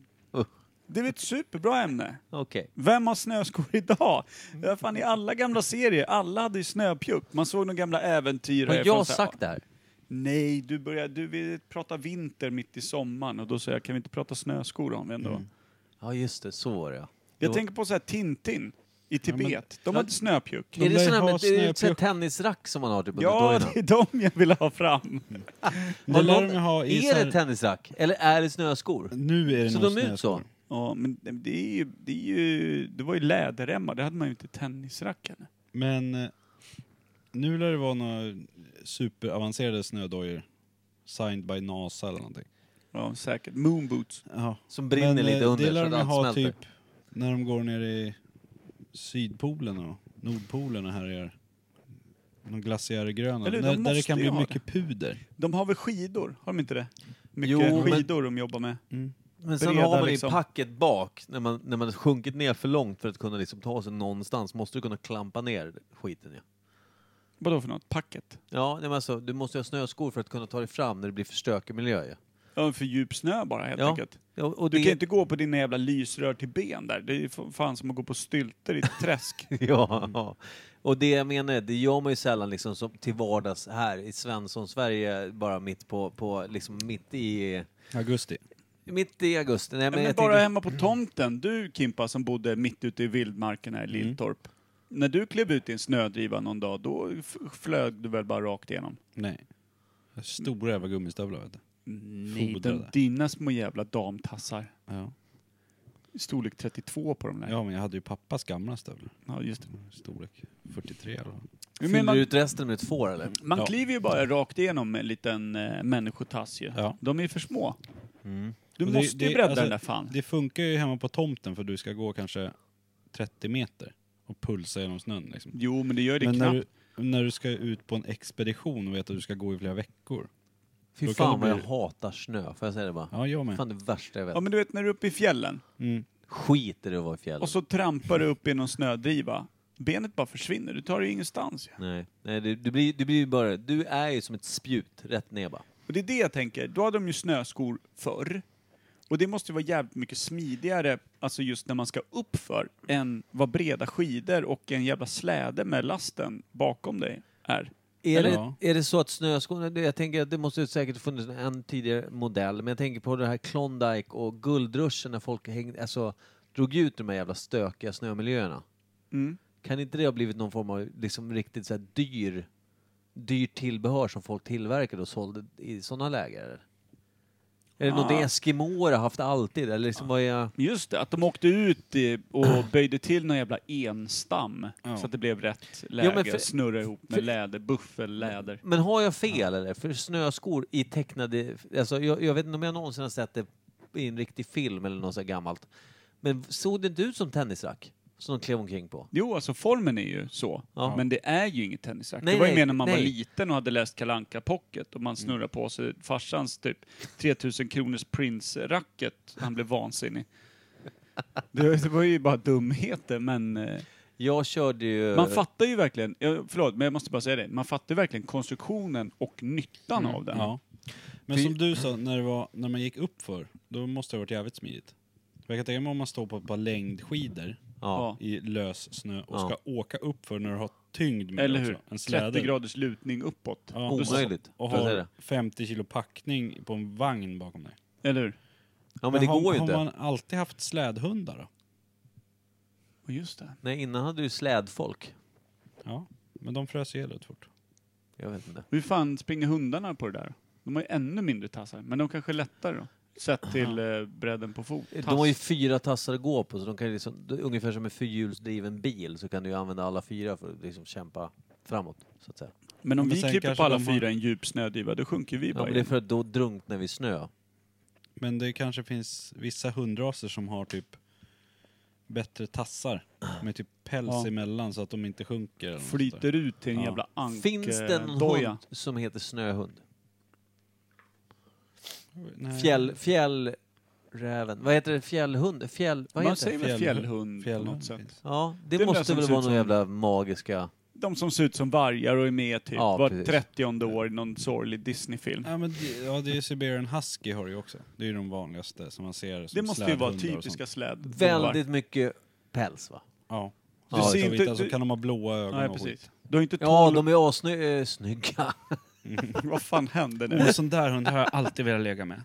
Det är ett superbra ämne. Okej. Vem har snöskor idag? Ja, fan, I alla gamla serier, alla hade ju snöpjuck. Man såg de gamla äventyr. Har jag sagt det här? "Ah, Nej, du, börjar, du vill prata vinter mitt i sommaren och då säger jag, kan vi inte prata snöskor om vi ändå? Ja, just det. Så var det ja. Jag Jo. tänker på så här Tintin i Tibet. de Ja. hade snöpjuck. De Är det lär sån här ha med det är ju ett sånt snöpjuck. här tennisrack som man har typ under Ja, dojorna? det är de jag vill ha fram. Det Har lär någon- de ju ha i så Är här, det tennisrack? Eller är det snöskor? Nu är det Så nog de ut så? snöskor. Ja, men det, är ju, det, är ju, det var ju läderremmar, det hade man ju inte i tennisracken. Men eh, nu lär det vara några superavancerade snödojor. Signed by NASA eller någonting. Ja, säkert. Moonboots. Ja. Som brinner Men, eh, lite under Det så lär att de ju allt ha smälter. typ när de går ner i Sydpolen och Nordpolen och här är någon glaciärgröna. Eller hur, Där, de där det måste kan ju bli ha mycket puder. De har väl skidor? Har de inte det? Mycket Jo, men- skidor de jobbar med. Men sen breda, har man det liksom. i packet bak, när man, när man har sjunkit ner för långt för att kunna liksom ta sig någonstans, måste du kunna klampa ner skiten ja. Vadå för något? Packet? Ja, nej, men alltså, du måste ju ha snöskor för att kunna ta dig fram när det blir för stökig miljö ja. Ja, för djup snö bara helt Ja. enkelt. ja och Du det, kan ju inte gå på dina jävla lysrör till ben där. Det är ju f- fan som att gå på stylter i ett träsk. Ja, ja. och det jag menar, det gör man ju sällan liksom som till vardags här i Svensson-Sverige, bara mitt på, på liksom mitt i, Augusti. mitt i augusti. Nej, men Men jag bara tänkte, hemma på tomten, du Kimpa som bodde mitt ute i vildmarken Mm. här i Lilltorp. När du klev ut i en snödriva någon dag, då f- flög du väl bara rakt igenom? Nej. Stora jävla gummistövlar vet du. Mm, Nej, Fodra de, där. dina små jävla damtassar. Ja. Storlek 32 på de där. Ja, ja men jag hade ju pappas gamla stövlar. just det. Storlek 43 eller vad. Men fyller man- du ut resten med ett får eller? Man Ja. kliver ju bara rakt igenom med en liten eh, människotass ju. Ja. Mm. De är ju för små. Du Och det- det- måste ju bredda alltså, den där fan. Det funkar ju hemma på tomten för du ska gå kanske 30 meter och pulsa genom snön liksom. Jo, men det gör det Men när knappt. du, när du ska ut på en expedition och vet att du ska gå i flera veckor. Då Fy kan fan det vad jag bli- hatar snö, får jag säga det bara? Ja, jag med. Fan det värsta jag vet. Ja, men du vet när du är uppe i fjällen Mm. Skiter i att vara i fjällen. och så trampar du upp i någon snödriva. Benet bara försvinner. Du tar dig ingenstans. ju. Nej, nej du, du, blir, du blir ju bara, du är ju som ett spjut rätt ner bara. Och det är det jag tänker. Då hade de ju snöskor förr. Och det måste ju vara jävligt mycket smidigare, alltså just när man ska uppför, än vad breda skidor och en jävla släde med lasten bakom dig är. Är, Ja. det, är det så att snöskorna, det- jag tänker att det måste ju säkert funnits en tidigare modell, men jag tänker på det här Klondike och guldruschen när folk hängde, alltså, drog ut de här jävla stökiga snömiljöerna. Mm. Kan inte det ha blivit någon form av liksom riktigt så här dyr, dyr tillbehör som folk tillverkade och sålde i sådana läger? eller? Är det något Ah. eskimåer har haft alltid? Eller liksom vad är... Just det, att de åkte ut i, och böjde till någon jävla enstam Ja. så att det blev rätt läge. men för- snurra ihop med för- läder, buffelläder. Men har jag fel eller? För snöskor i tecknade... Alltså, jag, jag vet inte om jag någonsin har sett det i en riktig film eller något så här gammalt. Men såg det inte ut som tennisrack? Som de klev omkring på? Jo, alltså formen är ju så. Ja. Men det är ju inget tennisrack. Nej, det var ju nej, mer när man var nej. Mm. liten och hade läst Kalanka Pocket och man snurrade på sig farsans typ 3000 kronors Prince-racket. Han blev vansinnig. Det, det var ju bara dumheter, men eh, Jag körde ju... man fattar ju verkligen, jag, förlåt, men jag måste bara säga det, man fattar ju verkligen konstruktionen och nyttan Mm. av den. Ja. Men Fy- som du sa, när, det var, när man gick upp för, då måste det ha varit jävligt smidigt. För jag kan tänka mig om man står på ett par längdskidor Ja. i lös snö och Ja. ska åka upp för när du har tyngd med Eller dig hur? också. En släde. 30 graders lutning uppåt. Ja. Då- Omöjligt. Och Får jag säga har det? 50 kilo packning på en vagn bakom dig. Eller hur? Ja men det har, går ju har inte. man alltid haft slädhundar då? Och just det. Nej, innan hade du slädfolk. Ja, men de frös ihjäl rätt fort. Jag vet inte. Hur fan springer hundarna på det där? De har ju ännu mindre tassar, men de kanske är lättare då. Sett till eh, bredden på fot. De har ju fyra tassar att gå på, så de kan ju liksom, ungefär som en fyrhjulsdriven bil så kan du ju använda alla fyra för att liksom kämpa framåt, så att säga. Men om Men vi sen klipper kanske på alla de har- fyra i en djup snödriva, då sjunker vi Ja, bara men det är in. för att då drunknar vi i snö. Men det kanske finns vissa hundraser som har typ bättre tassar Ah. med typ päls Ja. emellan så att de inte sjunker. eller något sånt där. Flyter ut till en Ja. jävla Finns det en ankdoja. hund som heter snöhund? Nej. Fjäll, fjällräven. Vad heter det? Fjällhund? Fjäll... Vad Man heter säger det? väl Fjäll- fjällhund på Fjällhund något sätt. finns. Ja, det, Det är det måste som väl ser vara någon ut som- jävla magiska... De som ser ut som vargar och är med typ Ja, var precis. 30 år i någon sorglig Disney-film. Ja, men det, ja, det är ju Siberian Husky har du ju också. Det är ju de vanligaste som man ser som det måste ju vara slädhundar och typiska sånt. slädhundar. Väldigt mycket päls va? Ja. Du Du ja, ser ser inte- vita, så du- alltså, kan de ha blåa ögon Nej, och skit. precis. Du har inte Ja, tolv... de är eh, assnygga. Vad fan hände nu? Och en sån där hund har jag alltid velat lägga med.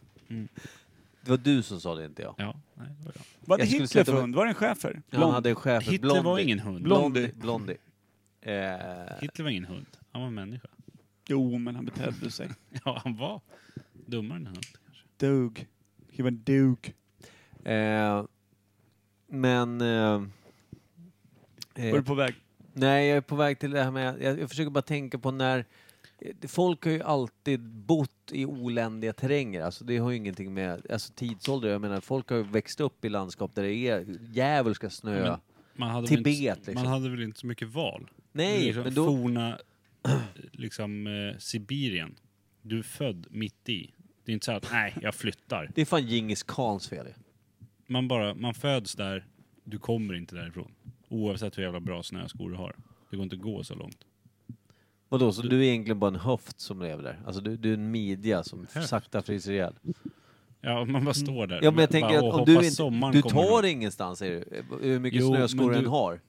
Det var du som sa det, inte jag. Ja, nej, det var bra. Vad hade skulle Hitler säga att de för är- hund? Var det en schäfer? Ja, Han hade en chef, Hitler Blondie. var ingen hund. Blondie. Blondie. Eh, Hitler var ingen hund. Han var människa. Jo, men han betedde sig. Ja, han var dummare än en hund. Kanske. Dog. He var dog. eh, men... Eh, eh, Var du på väg? Nej, jag är på väg till det här med... Jag, jag försöker bara tänka på när... eh, Folk har ju alltid bott i oländiga terränger. Alltså det har ju ingenting med alltså, tidsålder Jag menar, folk har ju växt upp i landskap där det är djävulska snö. Men- Man hade Tibet, väl inte, liksom. Man hade väl inte så mycket val? Det är Nej, liksom men då... Forna liksom, eh, Sibirien. Du är född mitt i. Det är inte så att, nej, jag flyttar. Det är fan Djingis Khans fel ju. Man bara, man föds där, du kommer inte därifrån. Oavsett hur jävla bra snöskor du har. Det går inte att gå så långt. Vadå, så du är egentligen bara en höft som lever där? Alltså du, du är en midja som sakta fryser ihjäl? Ja, man bara står där. Mm. Ja men jag tänker bara, att "Åh, om du hoppas inte... sommaren Du kommer tar då." ingenstans säger du, eh, hur mycket Jo, snöskor men du än du- har.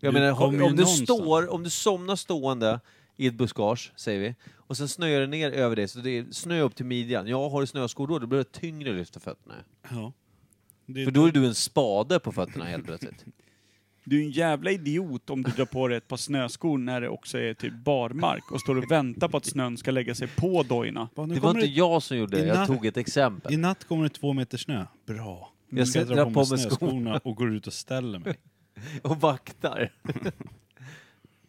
Jag du menar, har- kommer ju om du, någonstans. står, om du somnar stående i ett buskage, säger vi, och sen snöar det ner över dig så det är snö upp till midjan. Ja, har du snöskor då, då blir det tyngre att lyfta fötterna. Ja. Det, För då är du en spade på fötterna helt plötsligt. Du är en jävla idiot om du drar på dig ett par snöskor när det också är typ barmark och står och väntar på att snön ska lägga sig på dojorna. Bara, nu Det var kommer inte jag som gjorde det, jag Innan- tog ett exempel. I natt kommer det två meter snö. Bra. Jag ska dra på mig snöskorna och går ut och ställer mig. Och vaktar.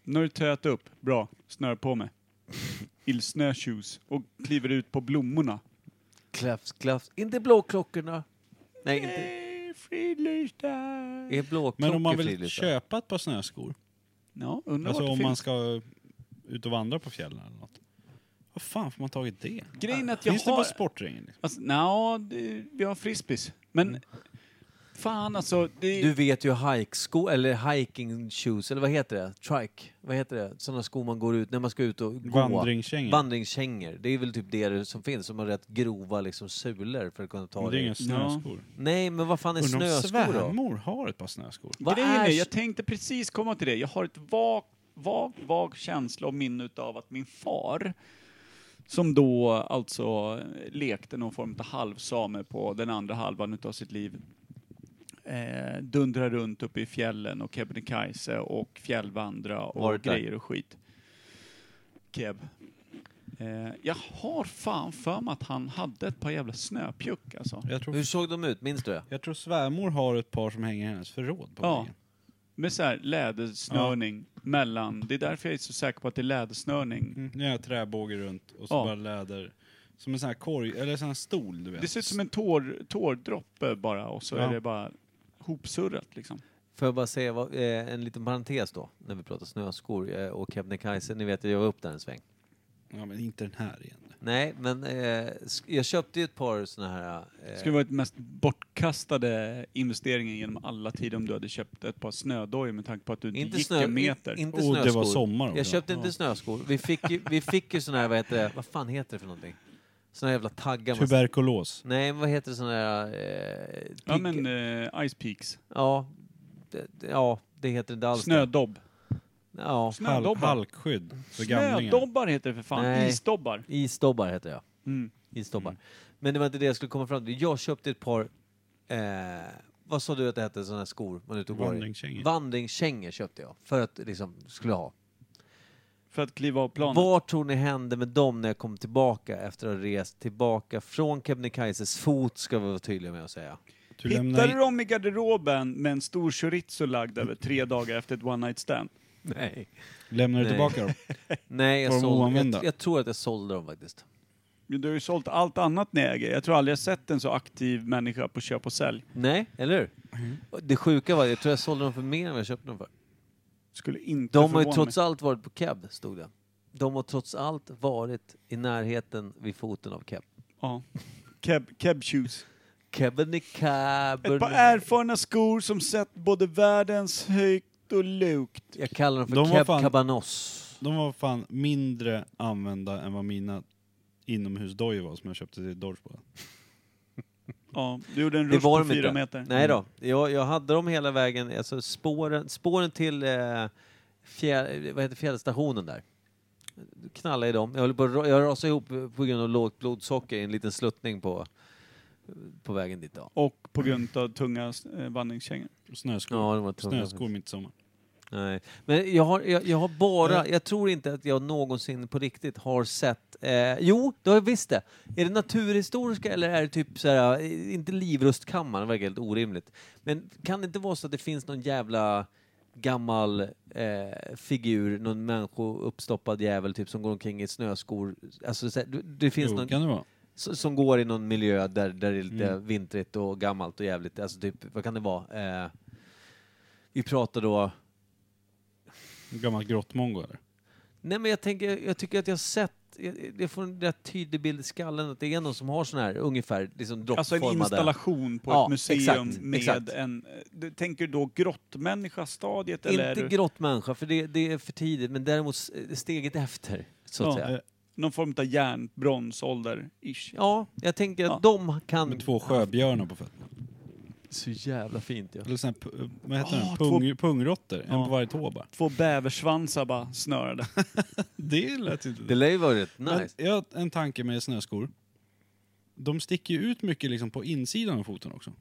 Nu har du töat upp. Bra. Snör på mig. Illsnöshoes. Och kliver ut på blommorna. Klaffs, klaffs. Inte blåklockorna. Nej, inte. Fridlysta. Är blåklockor Men om man vill fridlysta? köpa ett par snöskor, Ja, undrar alltså vart om det man finns. ska ut och vandra på fjällen eller något. Vad fan får man tagit det? Grejen är att jag Finns det har... på sportringen? Liksom? Alltså, nja, det, vi har frisbees. Men fan alltså. Det, Du vet ju hikesko eller hiking shoes, eller vad heter det? Trike? Vad heter det? Sådana skor man går ut när man ska ut och gå. Vandringskängor. Vandringskängor. Det är väl typ det som finns, som har rätt grova liksom sulor för att kunna ta Men det är dig. inga snöskor. Nej, men vad fan är Undrar om snöskor då? svärmor har ett par snöskor? Vad grejen är, är... jag tänkte precis komma till det. Jag har ett vag, vag, vag känsla och minne utav att min far, som då alltså lekte någon form av halvsame på den andra halvan utav sitt liv, eh, dundra runt uppe i fjällen och Kebnekaise och fjällvandra och Varit där? grejer och skit. Keb. Eh, jag har fan för mig att han hade ett par jävla snöpjuck alltså. Jag tror, Hur såg de ut? Minns du det? jag tror svärmor har ett par som hänger i hennes förråd på Ja. väggen. Med så här lädersnörning mellan. Det är därför jag är så säker på att det är lädersnörning. Mm. Nu har jag träbåge runt och så Ja. bara läder. Som en sån här korg, eller sån här stol du vet. Det ser ut som en tår, tårdroppe bara och så Ja. är det bara hopsurrat liksom. Får jag bara säga vad, eh, en liten parentes då, när vi pratar snöskor eh, och Kebnekaise. Ni vet, jag var upp där en sväng. Ja men inte den här igen. Nej, men eh, sk- jag köpte ju ett par såna här... Det Eh, skulle vara den mest bortkastade investeringen genom alla tider om du hade köpt ett par snödojor med tanke på att du inte, Inte, gick snö, en meter. in- inte Och Oh, det snöskor. var sommar också. Jag köpte Ja. inte snöskor. Vi fick ju, vi fick ju såna här, vad heter det, vad fan heter det för någonting? Såna här jävla taggar. man- Tuberkulos. Nej, men vad heter det såna här... Eh, ja pigg- men eh, Ice Peaks. ja, det, det- ja, det heter inte alls det. Snödobb. Ja, Hal- Snödobbar. halkskydd för gamlingar. Snödobbar heter det för fan. Nej. Isdobbar. isdobbar heter jag. Mm. Isdobbar. Men det var inte det jag skulle komma fram till. Jag köpte ett par... Eh, vad sa du att det hette, såna här skor man är ute och går i? Vandringskängor. Vandringskängor köpte jag för att liksom skulle ha. För att kliva av planet. Vad tror ni hände med dem när jag kom tillbaka efter att ha rest tillbaka från Kebnekaises fot, ska vi vara tydliga med att säga. Du lämnar Hittade du in, dem i garderoben med en stor chorizo lagd över tre dagar efter ett one night stand? Nej. lämnar du Nej. tillbaka dem? Nej, jag, Var de sålde, oanvända? jag, jag tror att jag sålde dem faktiskt. Du har ju sålt allt annat ni äger. Jag tror aldrig jag sett en så aktiv människa på köp och sälj. Nej, eller hur? Och Det sjuka var, jag tror jag sålde dem för mer än vad jag köpte dem för. Skulle inte De har ju förvåna trots mig. allt varit på cab, stod det. De har trots allt varit i närheten vid foten av cab. Ja. Keb, keb shoes. Kebney cab. Ett par erfarna skor som sett både världens högt och lukt. Jag kallar dem för De var cab fan- cabanos. De var fan mindre använda än vad mina inomhusdojor var som jag köpte till Dodgeball. Ja, du gjorde en Det rush var på de fyra inte. meter. Nej då. Jag, jag hade dem hela vägen, alltså spåren, spåren till eh, fjär, vad heter fjällstationen där. Knallade i dem. Jag, höll på, att ra- jag rasade ihop på grund av lågt blodsocker i en liten sluttning på, på vägen dit. Då. Och på grund av tunga eh, vandringskängor. Snöskor. Ja, det var tunga. Snöskor mitt i sommar. Nej. Men jag har, jag, jag har bara, jag tror inte att jag någonsin på riktigt har sett, eh, jo det har jag visst det. Är det naturhistoriska eller är det typ så här, eh, inte livrustkammaren, det verkar helt orimligt. Men kan det inte vara så att det finns någon jävla gammal eh, figur, någon människouppstoppad jävel typ som går omkring i snöskor, alltså så här, det, det finns Jo, någon kan Mm. det vara. s- som går i någon miljö där, där det är lite vintrigt och gammalt och jävligt. Alltså typ, vad kan det vara? Eh, vi pratar då En Gammal grottmongo eller? Nej men jag tänker, jag tycker att jag har sett, jag, jag får en rätt tydlig bild i skallen att det är någon som har sån här ungefär liksom Alltså en droppformade... installation på Ja, ett museum exakt, med exakt. en... eh, du- Tänker du då grottmänniska-stadiet eller är Inte du grottmänniska, för det, det är för tidigt, men däremot s- eh, steget efter, så att Ja, säga. eh, någon form av järnbronsålder-ish? Ja, jag tänker att Ja. de kan... Med två sjöbjörnar på fötterna. Så jävla fint ja. Eller sån här, pu- vad heter Ah, den? Pung, pungrotter. En på varje tå bara. Två bäversvansar bara snörade. Det lät ju inte... Det lär ju vara rätt Men nice. jag har en tanke med snöskor. De sticker ju ut mycket liksom på insidan av foten också.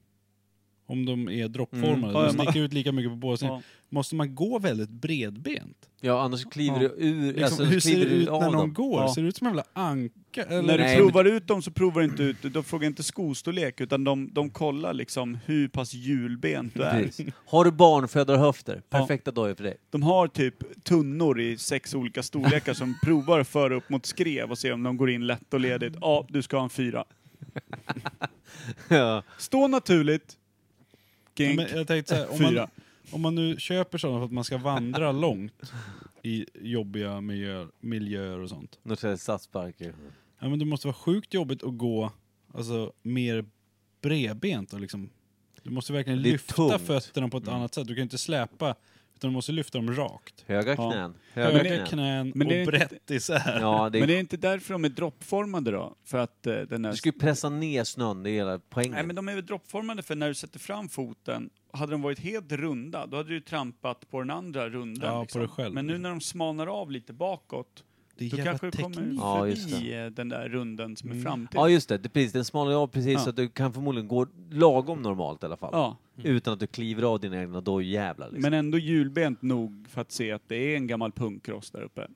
Om de är droppformade. Mm. Ja, ja, De man- sticker ut lika mycket på båda sidor. Ja. Måste man gå väldigt bredbent? Ja, annars kliver Ja. du ur... Liksom, alltså, hur ser kliver det du ut av när någon dem. går? Ja. Ser det ut som en jävla anka? När Eller? liksom- du Nej, provar ut dem så provar du inte ut, de frågar inte skostorlek utan de, de kollar liksom hur pass hjulbent du är. Precis. Har du barnfödarhöfter, Ja. perfekta dojor för dig. De har typ tunnor i sex olika storlekar som provar att föra upp mot skrev och se om de går in lätt och ledigt. Ja, du ska ha en fyra. ja. Stå naturligt. Ja, Gink. Men jag tänkte så här, om, Fyra. man, om man nu köper sådana för att man ska vandra långt i jobbiga miljöer, miljöer och sånt. Norrtälje stadsparker. Ja, men det måste vara sjukt jobbigt att gå alltså, mer bredbent. Och liksom, du måste verkligen Det är lyfta tungt. Mm. fötterna på ett annat sätt. Du kan inte släpa, utan du måste lyfta dem rakt. Höga Ja. knän. Höga Höga knän. knän Men det är och inte- brett isär. Ja, det är Men det är inte därför de är droppformade då? För att eh, den Du här... ska ju pressa ner snön, det är hela poängen. Nej, men de är väl droppformade för när du sätter fram foten, hade de varit helt runda, då hade du ju trampat på den andra runda. Ja, på dig själv. Men nu när de smalnar av lite bakåt, Det då är kanske jävla du kommer teknik. Mm. förbi Ja, just eh, den där runden som är fram till. Ja just det, det precis, den smalnar ju av precis Ja. så att du kan förmodligen gå lagom normalt i alla fall. Mm. Ja, Utan att du kliver av dina egna dojjävlar. Liksom. men ändå hjulbent nog för att se att det är en gammal punkross där uppe.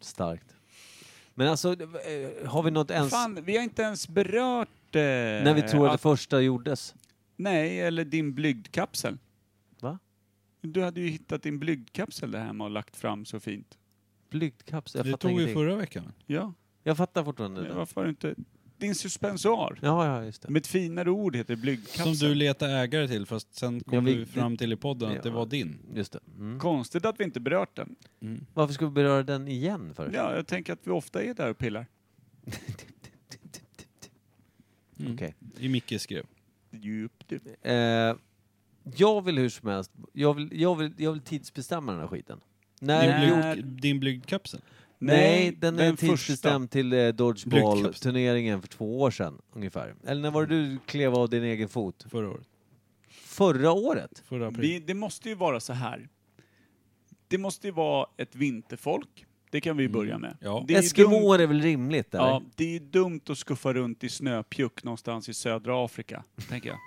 Starkt. Men alltså, eh, har vi något ens... Fan, vi har inte ens berört... Eh, När vi tror att det att, första gjordes? Nej, eller din blygdkapsel. Va? Du hade ju hittat din blygdkapsel där hemma och lagt fram så fint. Blygdkapsel? Jag Det fattar tog vi ingenting. förra veckan. Ja, Jag fattar fortfarande men det. varför har du inte... Din suspensoar. Ja, ja, just det. Med ett finare ord heter det blygdkapsel. Som du letade ägare till, fast sen kom Ja, vi- du fram till i podden att det Ja. var din. Mm. Just det. Mm. Konstigt att vi inte berört den. Varför ska vi beröra den igen för? Ja, jag tänker att vi ofta är där och pillar. Mm. Okej. I Micke skrev. Djup, djup. Eh, jag vill hur som helst, jag vill, jag vill, jag vill tidsbestämma den här skiten. Din, När Nej. blygd- din blygdkapsel. Nej, den är tidsbestämd till eh, Blygdkapsel. Dodgeball-turneringen för två år sedan ungefär. Eller när var det du klev av din egen fot? Förra året. Förra året? Förra april. Vi, det måste ju vara så här. Det måste ju vara ett vinterfolk. Det kan vi börja med. Mm. Ja. Det är ju dumt- Eskimoer är väl rimligt? Eller? Ja, det är ju dumt att skuffa runt i snöpjuck någonstans i södra Afrika, tänker jag.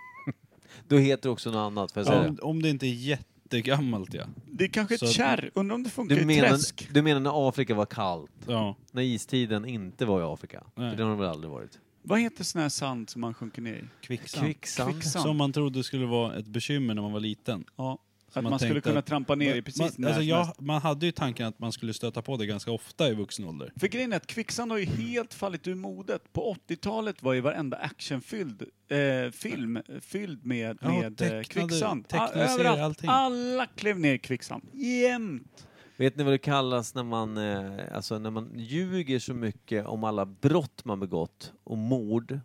Då heter det också något annat, för jag säga om, om det inte är jättegammalt ja. Det är kanske Så ett att- kärr. Undrar om det det. funkar Du i menar, träsk. du menar när Afrika var kallt? ja. När istiden inte var i Afrika? Nej. För det har den väl aldrig varit? Vad heter sån här sand som man sjunker ner i? Kvicksand. Kvicksand? Kvicksand. Som man trodde skulle vara ett bekymmer när man var liten. Ja. Att man, man skulle tänkte kunna att- trampa ner i precis man, när alltså som jag, helst. man hade ju tanken att man skulle stöta på det ganska ofta i vuxen ålder. För grejen är att kvicksand har ju helt fallit ur modet. På 80-talet var ju varenda actionfylld eh, film fylld med, Ja, med eh, tecknade- kvicksand. tecknade Ah, serier, överallt. allting. Alla klev ner i kvicksand. Jämt! Vet ni vad det kallas när man, eh, alltså när man ljuger så mycket om alla brott man begått och mord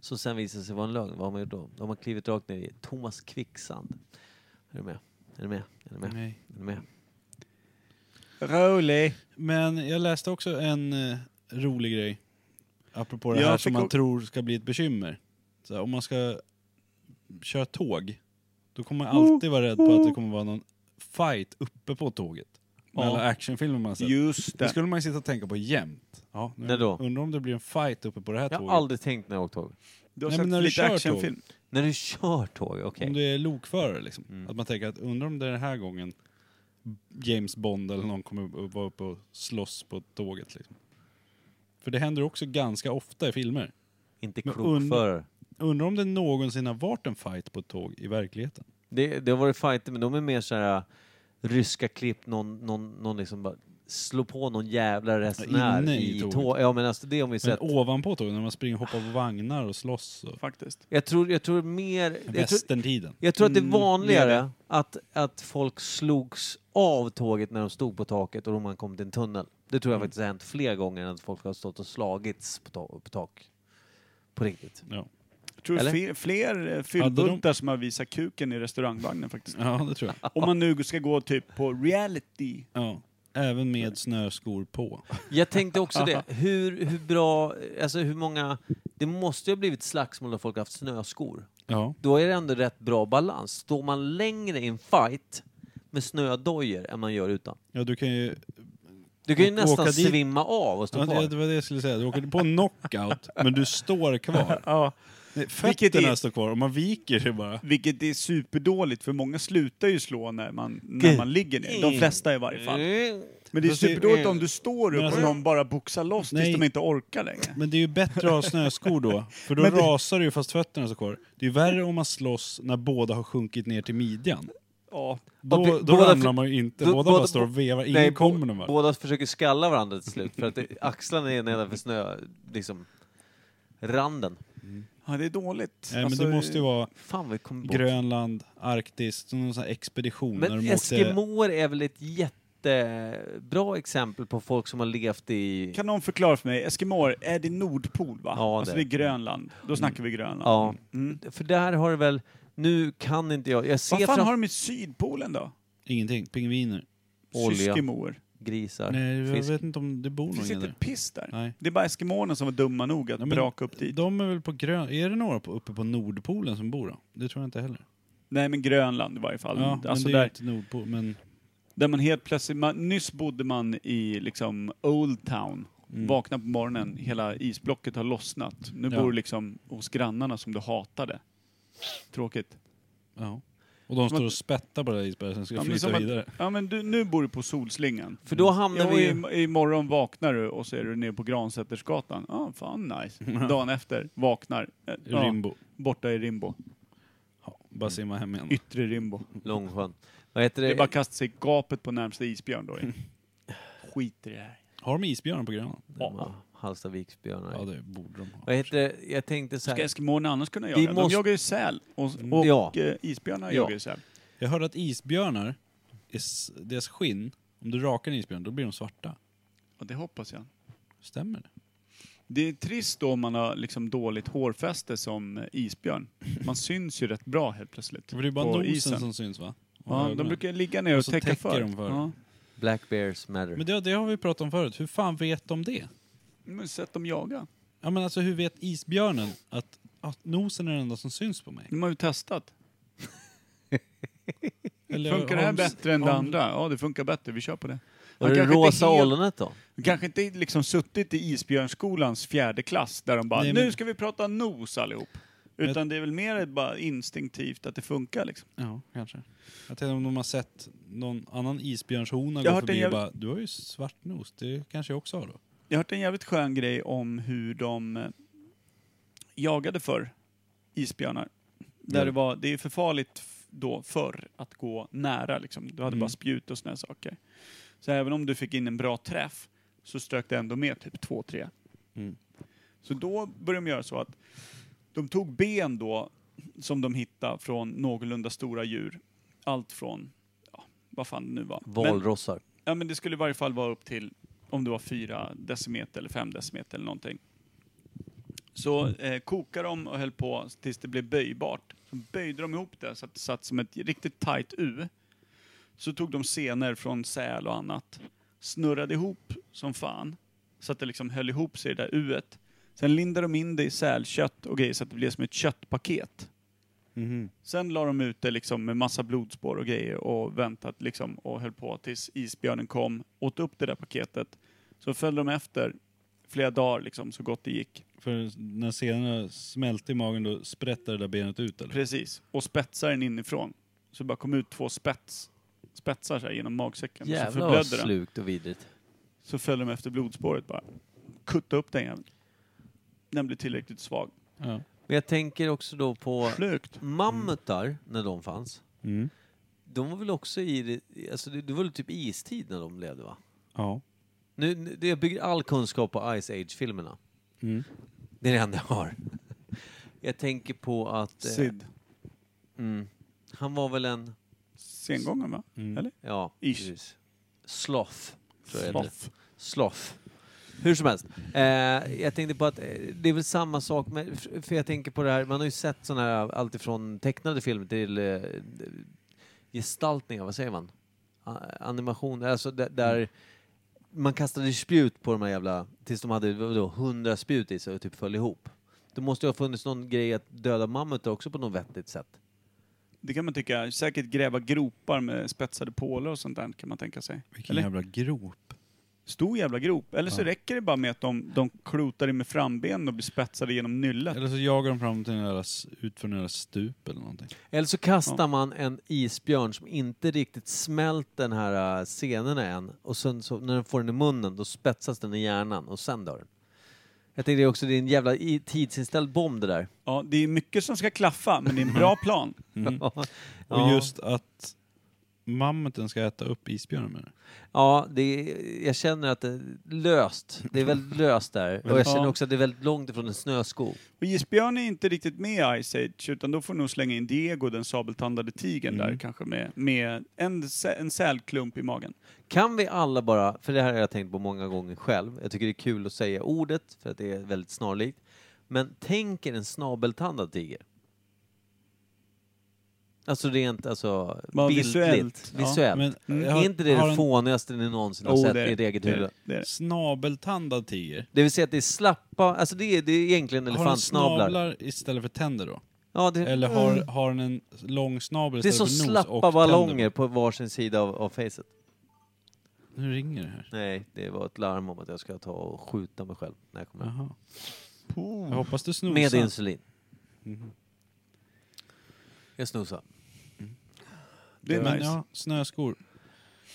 som sen visar sig vara en lögn? Vad har man gjort då? Då har man klivit rakt ner i Thomas Kvicksand. Är du med? Är du med? Är du med? Nej. Är du med? Rolig! Men jag läste också en eh, rolig grej. Apropå det Jag här fick som man o- tror ska bli ett bekymmer. Så här, om man ska köra tåg, då kommer man alltid vara rädd på att det kommer vara någon fight uppe på tåget. Med Ja. alla actionfilmer man har sett. Just Det det. skulle man ju sitta och tänka på jämt. Ja, nu, När då? Undrar om det blir en fight uppe på det här Jag tåget. har aldrig tänkt när jag åkt tåg. Du har Nej, sett men när lite du kör tåg. actionfilm. När du kör tåg, okej. Mm. Om du är lokförare liksom. Att man tänker att undrar om det är den här gången James Bond eller någon kommer upp- vara uppe och slåss på tåget liksom. För det händer också ganska ofta i filmer. Inte Men klok und- förare. Undrar om det någonsin har varit en fight på ett tåg i verkligheten. Det, det har varit fighter, men de är mer så här äh, ryska klipp, någon, någon, någon liksom bara slå på någon jävla resenär inne i i tåg. tåget. Ja men alltså det har vi Men sett. ovanpå tåget, när man springer och hoppar på vagnar och slåss. Och... Faktiskt. Jag tror, jag tror mer... Jag tror, Västerntiden. jag tror att det är Mm, det är vanligare att, att folk slogs av tåget när de stod på taket och då man kom till en tunnel. Det tror jag faktiskt har hänt fler gånger än att folk har stått och slagits på, ta- på tak. På riktigt. Ja. Jag tror Eller? fler, fler eh, fyllbultar som har visat kuken i restaurangvagnen faktiskt. ja, det tror jag. Om man nu ska gå typ på reality. Ja. Även med snöskor på. Jag tänkte också det. Hur, hur bra... Alltså hur många... Det måste ju ha blivit slagsmål när folk har haft snöskor. Ja. Då är det ändå rätt bra balans. Står man längre i en fight med snödojor än man gör utan. ja, du kan ju Du kan ju Å- nästan åka dit. svimma av och stå Ja, det, kvar. det var det jag skulle säga. Du åker på en knockout, men du står kvar. Ja. Nej, Vilket Fötterna är- står kvar och man viker sig bara. Vilket är superdåligt för många slutar ju slå när man, när man ligger ner. Mm. De flesta i varje fall. Men det är Fast det- superdåligt om du står upp Men och alltså- någon bara boxar loss Nej. tills de inte orkar längre. Men det är ju bättre att ha snöskor då, för då Men det- rasar du ju fast fötterna står kvar. Det är ju värre om man slåss när båda har sjunkit ner till midjan. Ja. Och Då, b- då båda ramlar för- man ju inte, då- båda båda- bara står och vevar, ingen Nej, bo- kommer någon vart. Båda försöker skalla varandra till slut för att det- axlarna är nedanför snö, liksom randen. ja, det är dåligt. Nej, men Alltså, det måste ju vara Fan vi kom bort. Grönland, Arktis, någon sån här expedition. när Men de åkte... eskimåer eh, är väl ett jättebra exempel på folk som har levt i... Kan någon förklara för mig, Eskimoer, är det Nordpol va? Ja, alltså det det är är Grönland. Då snackar vi Grönland. Ja. Mm. För där har det väl... Nu kan inte jag... Jag ser Vad fan fram... har de i Sydpolen då? Ingenting, pingviner. Olja. Syskimoer. Grisar, Nej, jag fisk. vet inte om det bor Det någon finns inte där. ett piss där. Nej. Det är bara Eskimoerna som var dumma nog att Ja, men braka upp dit. De är väl på grön... Är det några på, uppe på Nordpolen som bor då? Det tror jag inte heller. Nej men Grönland i varje fall. Ja, alltså men det är ju där, inte Nordpolen. Men... där man helt plötsligt, man, nyss bodde man i liksom Old Town. Mm. mm, Vakna på morgonen, hela isblocket har lossnat. Nu Ja. bor du liksom hos grannarna som du hatade. Tråkigt. Ja. Och de Som står att- och spettar på det här isberget, sen ska Ja, jag men flytta som att- vidare. Ja men du, nu bor du på Solslingan. För då hamnar Ja, och vi... i, imorgon vaknar du och så är du nere på Gransätersgatan. Ja, ah, fan nice. Dagen efter, vaknar. Eh, Ja, Rimbo. borta i Rimbo. Mm. Ja, bara simma hem igen. Yttre Rimbo. Långsjön. Vad heter det? Det är bara att kasta sig i gapet på närmsta isbjörn Mm. då. Skit i det här. Har de isbjörnar på Grönland? Ja, Hallstaviksbjörnar. Ja, det borde de ha. Vad heter det? Jag tänkte så Ska här... eskimåerna annars kunna Vi jaga? De måste- jagar ju säl. Och, och Ja. eh, isbjörnar Ja. jagar ju säl. Jag hörde att isbjörnar, är s- deras skinn, om du rakar en isbjörn, då blir de svarta. Och det hoppas jag. Stämmer det? Det är trist då om man har liksom dåligt hårfäste som eh, isbjörn. Man syns ju rätt bra helt plötsligt. För det är bara på nosen isen. som syns va? Och Ja, de ögonen. brukar ligga ner och, Och så täcka täcker för. de för. Ja. Black Bears Matter. Men det, det har vi pratat om förut, hur fan vet de det? Men sätt dem jaga. Ja men alltså hur vet isbjörnen att, att nosen är den enda som syns på mig? De har ju testat. Eller Funkar det här har de s- bättre än det har de- andra? Ja, det funkar bättre. Vi kör på det. Och Han det kanske inte rosa helt- ollonet då? Kanske inte liksom suttit i Isbjörnskolans fjärde klass där de bara Nej, men- nu ska vi prata nos allihop. Utan det är väl mer bara instinktivt att det funkar liksom. Ja, kanske. Jag tänkte om de har sett någon annan isbjörnshona Jag gå har hört en förbi jävla- och bara du har ju svart nos, det kanske jag också har då. Jag har hört en jävligt skön grej om hur de eh, jagade för isbjörnar. Där Mm. det var, det är för farligt f- då förr att gå nära. Liksom. Du hade Mm. bara spjut och sådana saker. Så även om du fick in en bra träff så strök det ändå med typ 2-3. Mm. Så då började de göra så att de tog ben då som de hittade från någorlunda stora djur. Allt från, ja, vad fan det nu var. Men- Valrossar. Ja, men det skulle i varje fall vara upp till om det var 4 decimeter eller 5 decimeter eller någonting. Så eh, kokade de och höll på tills det blev böjbart. Så böjde de ihop det så att det satt som ett riktigt tajt U. Så tog de senor från säl och annat, snurrade ihop som fan, så att det liksom höll ihop sig i det där Uet. Sen lindade de in det i sälkött och grejer så att det blev som ett köttpaket. Mhm. Sen la de ut det liksom med massa blodspår och grejer och väntat liksom och höll på tills isbjörnen kom, åt upp det där paketet. Så följde de efter flera dagar liksom så gott det gick. För när senorna smälte i magen då sprättade det där benet ut eller? Precis. Och spetsar den inifrån. Så det bara kom ut två spets, spetsar så här genom magsäcken. och så Jävlar vad förblödde den. slukt och vidrigt. Så följde de efter blodspåret bara. Kutta upp den jäveln. Den blev tillräckligt svag. Ja. Men jag tänker också då på Slukt. mammutar, när de fanns. Mm. De var väl också i, det- alltså det, det var väl typ istid när de levde va? Ja. Nu, nu, jag bygger all kunskap på Ice Age-filmerna. Mm. Det är det enda jag har. Jag tänker på att... eh, Sid. Mm, han var väl en... Sengången va? Mm. Eller? Ja, Ish. precis. Sloth. tror jag det heter. Sloth. Sloth. Hur som helst. Eh, jag tänkte på att eh, det är väl samma sak med, f- för jag tänker på det här, man har ju sett sådana här alltifrån tecknade filmer till eh, gestaltningar, vad säger man? A- Animation, alltså där, där man kastade spjut på de här jävla, tills de hade vadå, hundra spjut i sig och typ föll ihop. Det måste ju ha funnits någon grej att döda mammutar också på något vettigt sätt. Det kan man tycka. Säkert gräva gropar med spetsade pålar och sånt där kan man tänka sig. Vilken Eller? jävla grop. Stor jävla grop. Eller så Ja. räcker det bara med att de, de klotar in med frambenen och blir spetsade genom nyllet. Eller så jagar de fram till en jävla, s- ut för en jävla stup eller någonting. Eller så kastar Ja. man en isbjörn som inte riktigt smält den här äh, senorna än och sen så, när den får den i munnen då spetsas den i hjärnan och sen dör den. Jag tänkte också, det är en jävla i- tidsinställd bomb det där. Ja, det är mycket som ska klaffa, men det är en bra plan. Och just att mammuten ska äta upp isbjörnen med det. Ja, det är, jag känner att det är löst. Det är väldigt löst där. Och jag känner Ja. också att det är väldigt långt ifrån en snöskog. Och isbjörn är inte riktigt med i Ice Age, utan då får nog slänga in Diego, den sabeltandade tigern där kanske, med, med en, sä- en sälklump i magen. Kan vi alla bara, för det här har jag tänkt på många gånger själv, jag tycker det är kul att säga ordet för att det är väldigt snarlikt, men tänk er en snabeltandad tiger. Alltså rent alltså Ja, bildligt, visuellt, visuellt. ja. Men jag är Mm, inte det har det en- fånigaste ni någonsin har Oh, sett det är i ert eget det är huvud? det är det. Snabeltandad tiger. Det vill säga att det är slappa, alltså det är, det är egentligen Har den elefantsnablar. snablar istället för tänder då? Ja, det, Eller har, har den en lång snabel Mm. det är istället som för nos och tänder? slappa ballonger på varsin sida av, av facet. Nu ringer det här. Nej, det var ett larm om att jag ska ta och skjuta mig själv när jag kommer hem. Jaha. Jag hoppas du snosar. Med insulin. Mm-hmm. Mhm. Jag snosar. Det är Men nice. ja, snöskor.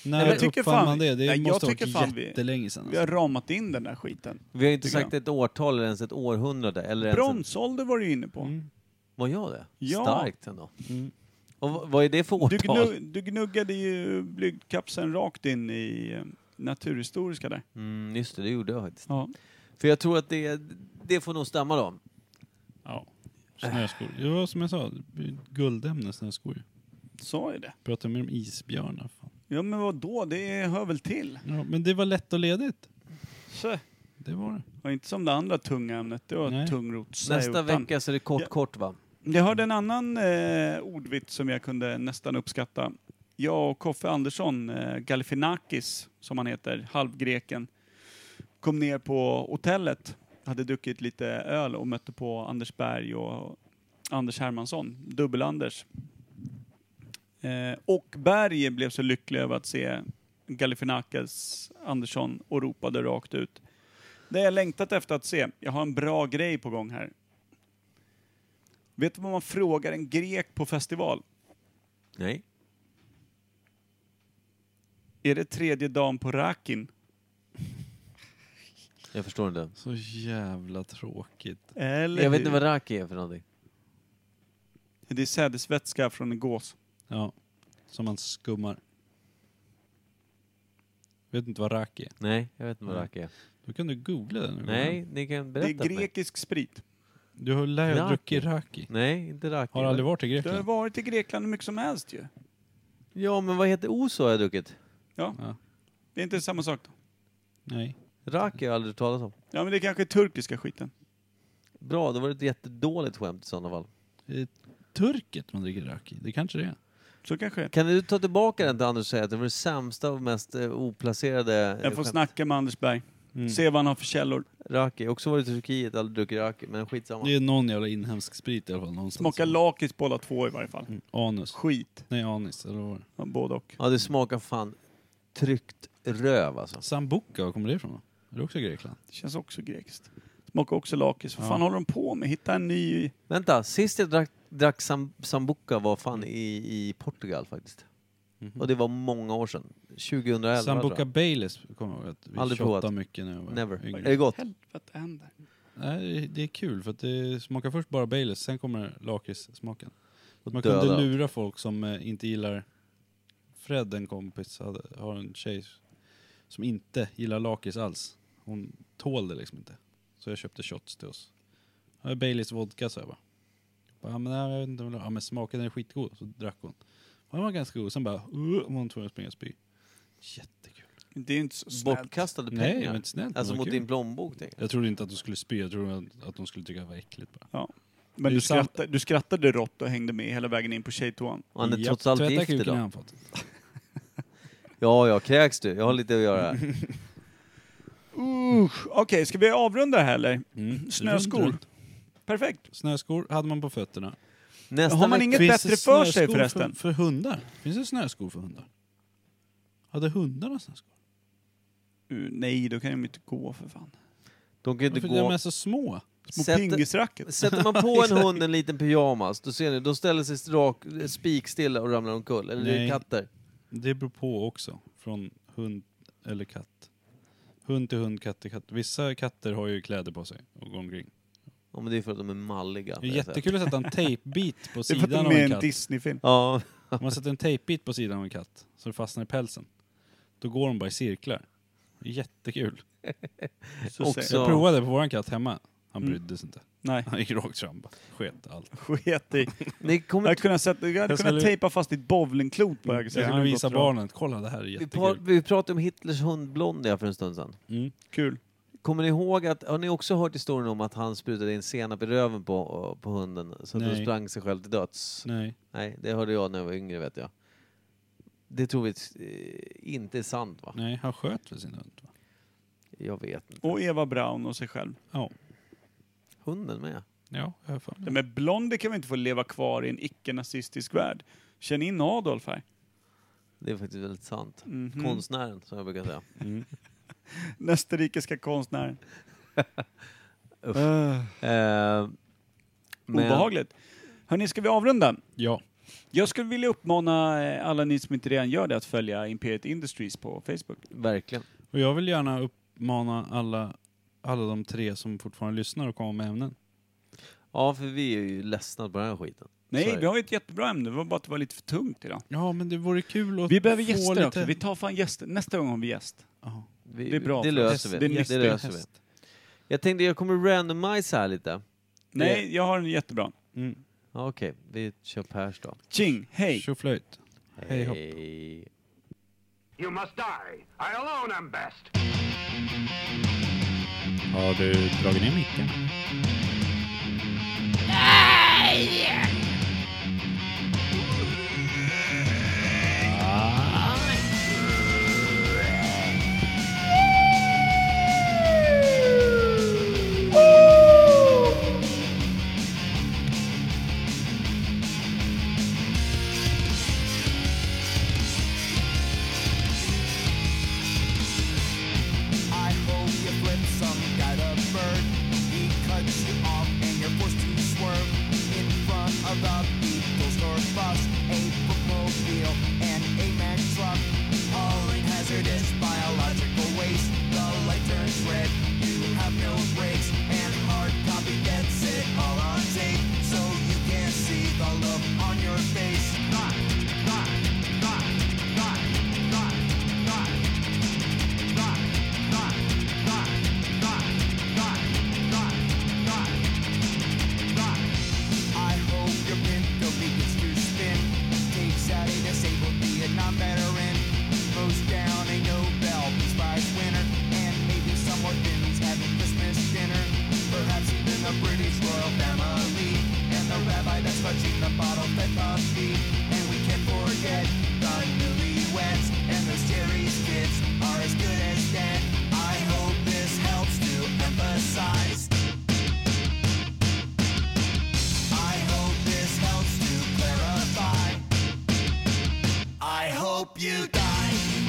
men När jag tycker uppfann fan- man det? Det Nej, jag måste ha tycker varit fan vi- jättelänge sedan. Vi Alltså. har ramat in den där skiten. Vi har inte Tycker sagt ett årtal eller ens ett århundrade. Eller Ens Bronsålder var du ju inne på. Mm. en, var jag det? Ja. Starkt ändå. Mm. Och v- vad är det för Du, årtal? gnugg, du gnuggade ju blygdkapseln rakt in i eh, naturhistoriska där. Mm, just det, det gjorde jag faktiskt. Ja. För jag tror att det, det får nog stämma då. Ja. Snöskor. Det var som jag sa, guldämne snöskor. Sa ju det. Pratade med om isbjörnar. Fan. Ja men vad då? det hör väl till? Ja, men det var lätt och ledigt. Så. Det var det. Och inte som det andra tunga ämnet, det var Nej. tungrot. Nästa vecka så är det kort, Ja. kort va? Jag hörde en annan eh, ordvits som jag kunde nästan uppskatta. Jag och Koffe Andersson, eh, Galifinakis som han heter, halvgreken, kom ner på hotellet, hade druckit lite öl och mötte på Anders Berg och Anders Hermansson, dubbel-Anders. Eh, och Berg blev så lycklig över att se Galifinakis Andersson och ropade rakt ut. Det har jag längtat efter att se. Jag har en bra grej på gång här. Vet du vad man frågar en grek på festival? Nej. Är det tredje dagen på rakin? Jag förstår inte. Så jävla tråkigt. Eller Jag vet hur? inte vad raki är för någonting. Det är sädesvätska från en gås. Ja, som man skummar. Vet inte vad raki är? Nej, jag vet inte vad Nej. rack är. Då kan du googla det nu. Nej, ni kan Mm. Det är berätta för mig. grekisk sprit. Du har lär Raki. jag druckit raki. Nej, inte rack. Har aldrig varit i Det har Grekland? varit i Grekland hur mycket som helst ju. Ja, men vad heter oso har jag druckit? Ja. Ja. Det är inte samma sak då. Nej. Rack har jag aldrig talat om. Ja men det är kanske turkiska skiten. Bra, då var det ett jättedåligt skämt i sådana fall. Det är turket man dricker raki. Det kanske det är. Så kanske det är. Kan du ta tillbaka den till Anders och säga att det var det sämsta och mest eh, oplacerade eh, Jag får skämt? snacka med Anders Berg. Mm. Se vad han har för källor. Raki. Också varit i Turkiet, aldrig druckit raki, men skitsamma. Det är någon jävla inhemsk sprit i alla fall. Någonstans. Smaka lakis båda två i varje fall. Mm, Anus. Skit. Nej, anis. Eller vad var det? Ja, både och. Ja, det smakar fan tryckt röv alltså. Sambuca, var kommer det ifrån då? Är det också Grekland? Det känns också grekiskt. Smakar också lakis. Vad Ja. fan håller de på med? Hitta en ny... Vänta, sist jag drack, drack sam, sambuca var fan i, i Portugal faktiskt. Mm. Mm-hmm. Och det var många år sedan. 2011 tror Sambuca jag. Baileys kommer jag ihåg att vi Aldrig tjottade provat. mycket när jag var Never. yngre. Är det gott? Helvete händer. Nej, det är kul för att det smakar först bara Baileys, sen kommer lakritssmaken. Och Man döda. kunde lura folk som eh, inte gillar... Fred, en kompis, hade, har en tjej som inte gillar lakrits alls. Hon tål det liksom inte. Så jag köpte shots till oss. Här är Baileys vodka, sa jag bara. bara ja, men, nej, jag vet inte, vad det är." ja, men smaken den är skitgod. Så drack hon. Ja, Den var ganska god, sen bara... Uh, var hon tvungen att springa och spy. Jättekul. Det är ju inte så snällt. Bortkastade pengar. Nej, men inte snällt. men alltså vad mot kul. din plånbok tänker jag. Jag trodde inte att du skulle spy, jag trodde att- att de skulle tycka det var äckligt bara. Men Det du är sant. skrattade, du skrattade rått och hängde med hela vägen in på tjejtoan. Och han är Japp, trots allt tvätta gift kuken har idag. han fått. Ja, ja, kräks du? Jag har lite att göra. Usch. Okej, ska vi avrunda här eller? Mm. Snöskor. Runt, runt. Perfekt. Snöskor hade man på fötterna. Nästa Har man vecka- inget Finns bättre det för sig snöskor förresten? För, för hundar? Finns det snöskor för hundar? Hade hundarna snöskor? Uh, nej, då kan de inte gå för fan. De kan ju inte Varför är de gå... är så små? Små Sätt- pingisracket. Sätter man på en hund en liten pyjamas, då ser ni, de ställer sig rak, spikstilla och ramlar omkull. Eller det är Nej. katter. Det beror på också. Från hund eller katt. Hund till hund, katt till katt. Vissa katter har ju kläder på sig och går omkring. Ja, men det är för att de är malliga. Det är vill jag säga. jättekul att sätta en tejpbit på Det är för att sidan de av är en en katt. Disney-film. Ja, Om man sätter en tejpbit på sidan av en katt så det fastnar i pälsen. Då går de bara i cirklar. Det är Jättekul. Så Också- säger Jag jag. provade på våran katt hemma. Han Mm. brydde sig inte. Nej, Han gick rakt fram bara. Sket allt. sket i. ni Jag kommer hade kunnat, sätta, jag hade Jag kunnat skulle- tejpa fast ditt bowlingklot på höger Jag sida. skulle visa Det hade gått barnen. Kolla det här är vi, par, jättekul. vi pratade om Hitlers hund Blondie här för en stund sedan. Mm. bra. Kul. Kommer ni ihåg att, har ni också hört historien om att han sprutade in senap i röven på, på hunden så att den Nej. sprang sig själv till döds? Nej. Nej, det hörde jag när jag var yngre vet jag. Det tror vi eh, inte är sant va? Nej, han sköt väl sin hund? Va? Jag vet inte. Och Eva Braun och sig själv. Ja. Hunden med. Ja, jag har för mig. Men Blondie kan väl inte få leva kvar i en icke-nazistisk värld? Känn in Adolf här. Det är faktiskt väldigt sant. Mhm. Konstnären, som jag brukar säga. Mm. Den österrikiska konstnären. Usch. Eh, Eh, men- Obehagligt. Hörni, ska vi avrunda? Ja. Jag skulle vilja uppmana eh, alla ni som inte redan gör det att följa Imperiet Industries på Facebook. Verkligen. Och jag vill gärna uppmana alla, alla de tre som fortfarande lyssnar och komma med ämnen. Ja, för vi är ju ledsna på den här skiten. Nej, Sorry. vi har ju ett jättebra ämne, det var bara att det var lite för tungt idag. Ja, men det vore kul att Vi behöver få gäster lite... också, vi tar fan gäster. Nästa gång har vi gäst. Ja. Vi, Det är bra Det för löser oss. vi. Det är Det, nyss- löser vi. Jag tänkte jag kommer randomisa här lite. Nej, jag har en jättebra. Mm. Ja, Okej, vi kör Pers då. Tjing, hej! Tjoflöjt. Hej hopp. Hej. You must die. I alone am best. Har du dragit ner micken? I hope you flip some guy the bird. He cuts you off and you're forced to swerve in front of hope you die.